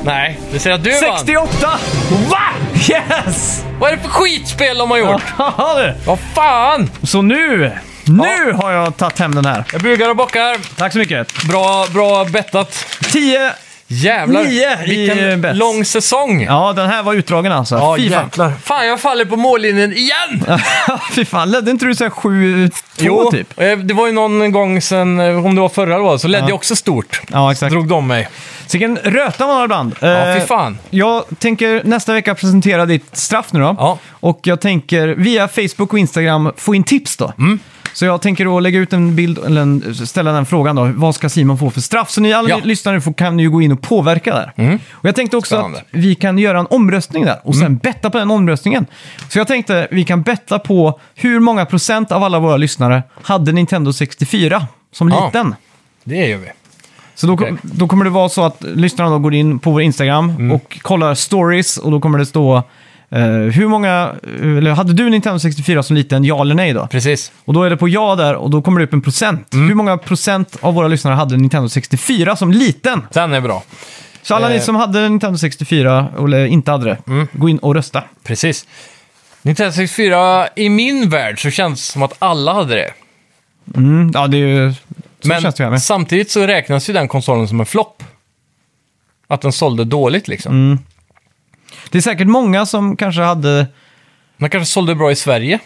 Speaker 2: Nej, det säger att du vann.
Speaker 1: 68! Va? Yes!
Speaker 2: Vad är det för skitspel de har gjort?
Speaker 1: Haha, du.
Speaker 2: Vad fan!
Speaker 1: så nu, nu har jag tagit hem den här.
Speaker 2: Jag bugar och bockar.
Speaker 1: Tack så mycket.
Speaker 2: Bra, bra bettat.
Speaker 1: 10.
Speaker 2: Jävlar.
Speaker 1: Nio i
Speaker 2: Vilken
Speaker 1: bets.
Speaker 2: lång säsong.
Speaker 1: Ja, den här var utdragen alltså. Fy fan.
Speaker 2: Fan, jag faller på mållinjen igen!
Speaker 1: Fy fan, ledde inte du så här 7-2 typ?
Speaker 2: eh, det var ju någon gång sen, eh, om det var förra då, så ledde jag också stort.
Speaker 1: Ja, exakt.
Speaker 2: Drog de mig.
Speaker 1: Så vilken röta man har ibland.
Speaker 2: Ja,
Speaker 1: Eh,
Speaker 2: fy fan.
Speaker 1: Jag tänker nästa vecka presentera ditt straff nu då.
Speaker 2: Ja.
Speaker 1: Och jag tänker via Facebook och Instagram få in tips då.
Speaker 2: Mm.
Speaker 1: Så jag tänker då lägga ut en bild, eller en, ställa den frågan då. Vad ska Simon få för straff? Så ni alla
Speaker 2: Ja. Mm.
Speaker 1: lyssnare får, kan ju gå in och påverka där. Och jag tänkte också
Speaker 2: Spännande. Mm.
Speaker 1: att vi kan göra en omröstning där och sen betta på den omröstningen. Så jag tänkte vi kan betta på hur många procent av alla våra lyssnare hade Nintendo 64 som
Speaker 2: Ja.
Speaker 1: liten.
Speaker 2: Det gör vi.
Speaker 1: Så då,
Speaker 2: Okej.
Speaker 1: då kommer det vara så att lyssnarna då går in på vår Instagram
Speaker 2: Mm.
Speaker 1: och kollar stories och då kommer det stå eh, hur många, eh, eller hade du Nintendo 64 som liten, ja eller nej då?
Speaker 2: Precis.
Speaker 1: Och då är det på ja där och då kommer det upp en procent.
Speaker 2: Mm.
Speaker 1: Hur många procent av våra lyssnare hade Nintendo 64 som liten?
Speaker 2: Den är bra.
Speaker 1: Så alla ni
Speaker 2: Eh. Mm.
Speaker 1: som hade Nintendo 64, eller inte hade det, gå in och rösta.
Speaker 2: Precis. Nintendo 64, i min värld så känns det som att alla hade det.
Speaker 1: Mm, ja, det är ju... Så känns det ju här
Speaker 2: Men
Speaker 1: med.
Speaker 2: samtidigt så räknas ju den konsolen som en flopp. Att den sålde dåligt liksom.
Speaker 1: Mm. Det är säkert många som kanske hade...
Speaker 2: Den kanske sålde bra i Sverige.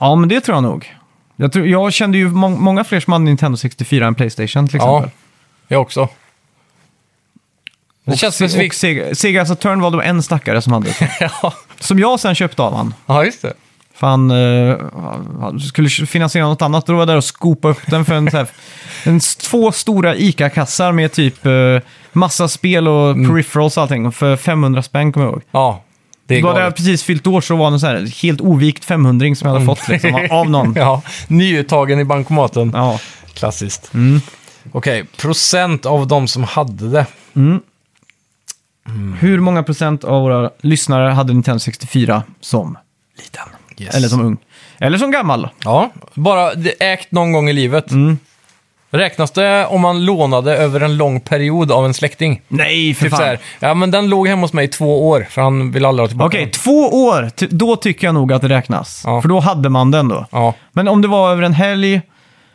Speaker 1: Ja, men det tror jag nog. Jag, tror, jag kände ju må- många fler som hade Nintendo 64 än Playstation till exempel.
Speaker 2: Ja, jag också. Det
Speaker 1: Och
Speaker 2: känns
Speaker 1: Se-
Speaker 2: specifikt.
Speaker 1: och alltså Sega, Sega Saturn var då en stackare som hade det.
Speaker 2: ja.
Speaker 1: Som jag sen köpte av han.
Speaker 2: ja, just det.
Speaker 1: För han eh, han skulle finansiera något annat. Då var jag där och skopade upp den för en, så här, en, s- två stora ICA-kassar med typ eh, massa spel och
Speaker 2: Mm.
Speaker 1: peripherals och allting. För 500 spänn kommer jag ihåg.
Speaker 2: Ja, det är
Speaker 1: Då hade
Speaker 2: galet.
Speaker 1: jag precis fyllt år så var det en så här helt ovikt 500 som jag hade fått liksom, av någon.
Speaker 2: Mm. Ja, nyuttagen i bankomaten.
Speaker 1: Ja. Mm.
Speaker 2: Klassiskt. Okej, procent av de som hade det.
Speaker 1: Hur många procent av våra lyssnare hade Nintendo 64 som liten?
Speaker 2: Yes.
Speaker 1: Eller som ung? Eller som gammal?
Speaker 2: Ja, bara det- ägt någon gång i livet.
Speaker 1: Mm.
Speaker 2: Räknas det om man lånade över en lång period av en släkting?
Speaker 1: Nej, för
Speaker 2: Typ så här, ja men den låg hemma hos mig i två år, för han vill aldrig ha tillbaka
Speaker 1: Okej,
Speaker 2: den.
Speaker 1: två år, ty- då tycker jag nog att det räknas.
Speaker 2: Ja.
Speaker 1: För då hade man den då.
Speaker 2: Ja,
Speaker 1: Men om det var över en helg,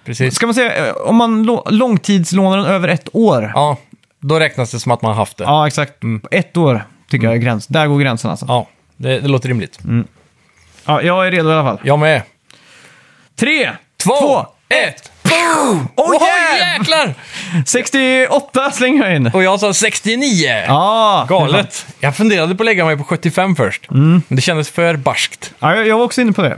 Speaker 2: precis.
Speaker 1: ska man säga, eh, om man lå- långtidslånar den över ett år.
Speaker 2: Ja, Mm. då räknas det som att man har haft det. Ja,
Speaker 1: Ja, exakt. Ett år tycker
Speaker 2: Mm.
Speaker 1: jag är gräns. Där går gränsen alltså. Ja.
Speaker 2: det, det låter rimligt.
Speaker 1: Mm. jag är redo i alla fall.
Speaker 2: Jag med.
Speaker 1: Tre,
Speaker 2: Två, ett, boom!
Speaker 1: Åh,
Speaker 2: Åh,
Speaker 1: jävlar!
Speaker 2: jäklar!
Speaker 1: 68 slänger jag in.
Speaker 2: Och jag sa 69!
Speaker 1: Ja,
Speaker 2: Galet. Jag funderade på att lägga mig på 75 först,
Speaker 1: Mm.
Speaker 2: men det kändes för barskt.
Speaker 1: Ja, jag, jag var också inne på det.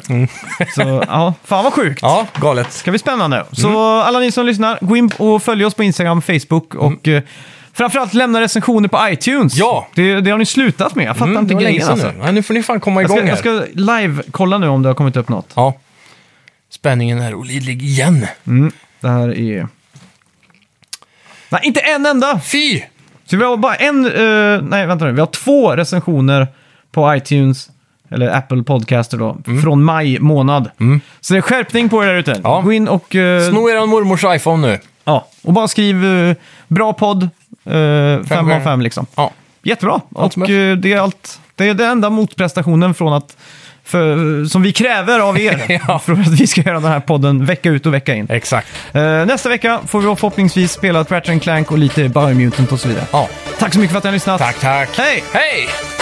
Speaker 1: Så, ja, fan vad sjukt.
Speaker 2: Mm. Ja, galet.
Speaker 1: Det ska bli spännande. Så
Speaker 2: Mm.
Speaker 1: alla ni som lyssnar, gå in och följ oss på Instagram, Facebook
Speaker 2: Mm.
Speaker 1: och eh, framförallt lämna recensioner på iTunes.
Speaker 2: Ja.
Speaker 1: Det, det har ni slutat med. Jag
Speaker 2: Mm,
Speaker 1: fattar inte grejen alltså.
Speaker 2: nu. Ja, nu får ni fan komma
Speaker 1: Jag
Speaker 2: igång
Speaker 1: ska, jag
Speaker 2: här.
Speaker 1: ska live-kolla nu om det har kommit upp något.
Speaker 2: Ja. Spänningen är olidlig igen.
Speaker 1: Det här är... Nej, inte en enda!
Speaker 2: Fy!
Speaker 1: Så vi har bara en... eh, nej, vänta nu. Vi har två recensioner på iTunes, eller Apple Podcaster då, från maj månad. Så det är skärpning på er där ute.
Speaker 2: Mm. Ja.
Speaker 1: Gå in och... eh,
Speaker 2: Sno er mormors iPhone nu.
Speaker 1: Ja, och bara skriv eh, bra podd, 5 av 5 liksom.
Speaker 2: Ja.
Speaker 1: Jättebra,
Speaker 2: Allt som
Speaker 1: och eh, det är allt. Det är den enda motprestationen från att, för, som vi kräver av er
Speaker 2: Ja.
Speaker 1: för att vi ska göra den här podden vecka ut och vecka in.
Speaker 2: Exakt.
Speaker 1: Eh, nästa vecka får vi förhoppningsvis spela ett Ratchet Clank och lite Biomutant och så vidare.
Speaker 2: Ja.
Speaker 1: Tack så mycket för att ni har lyssnat.
Speaker 2: Tack, tack.
Speaker 1: Hej!
Speaker 2: Hej!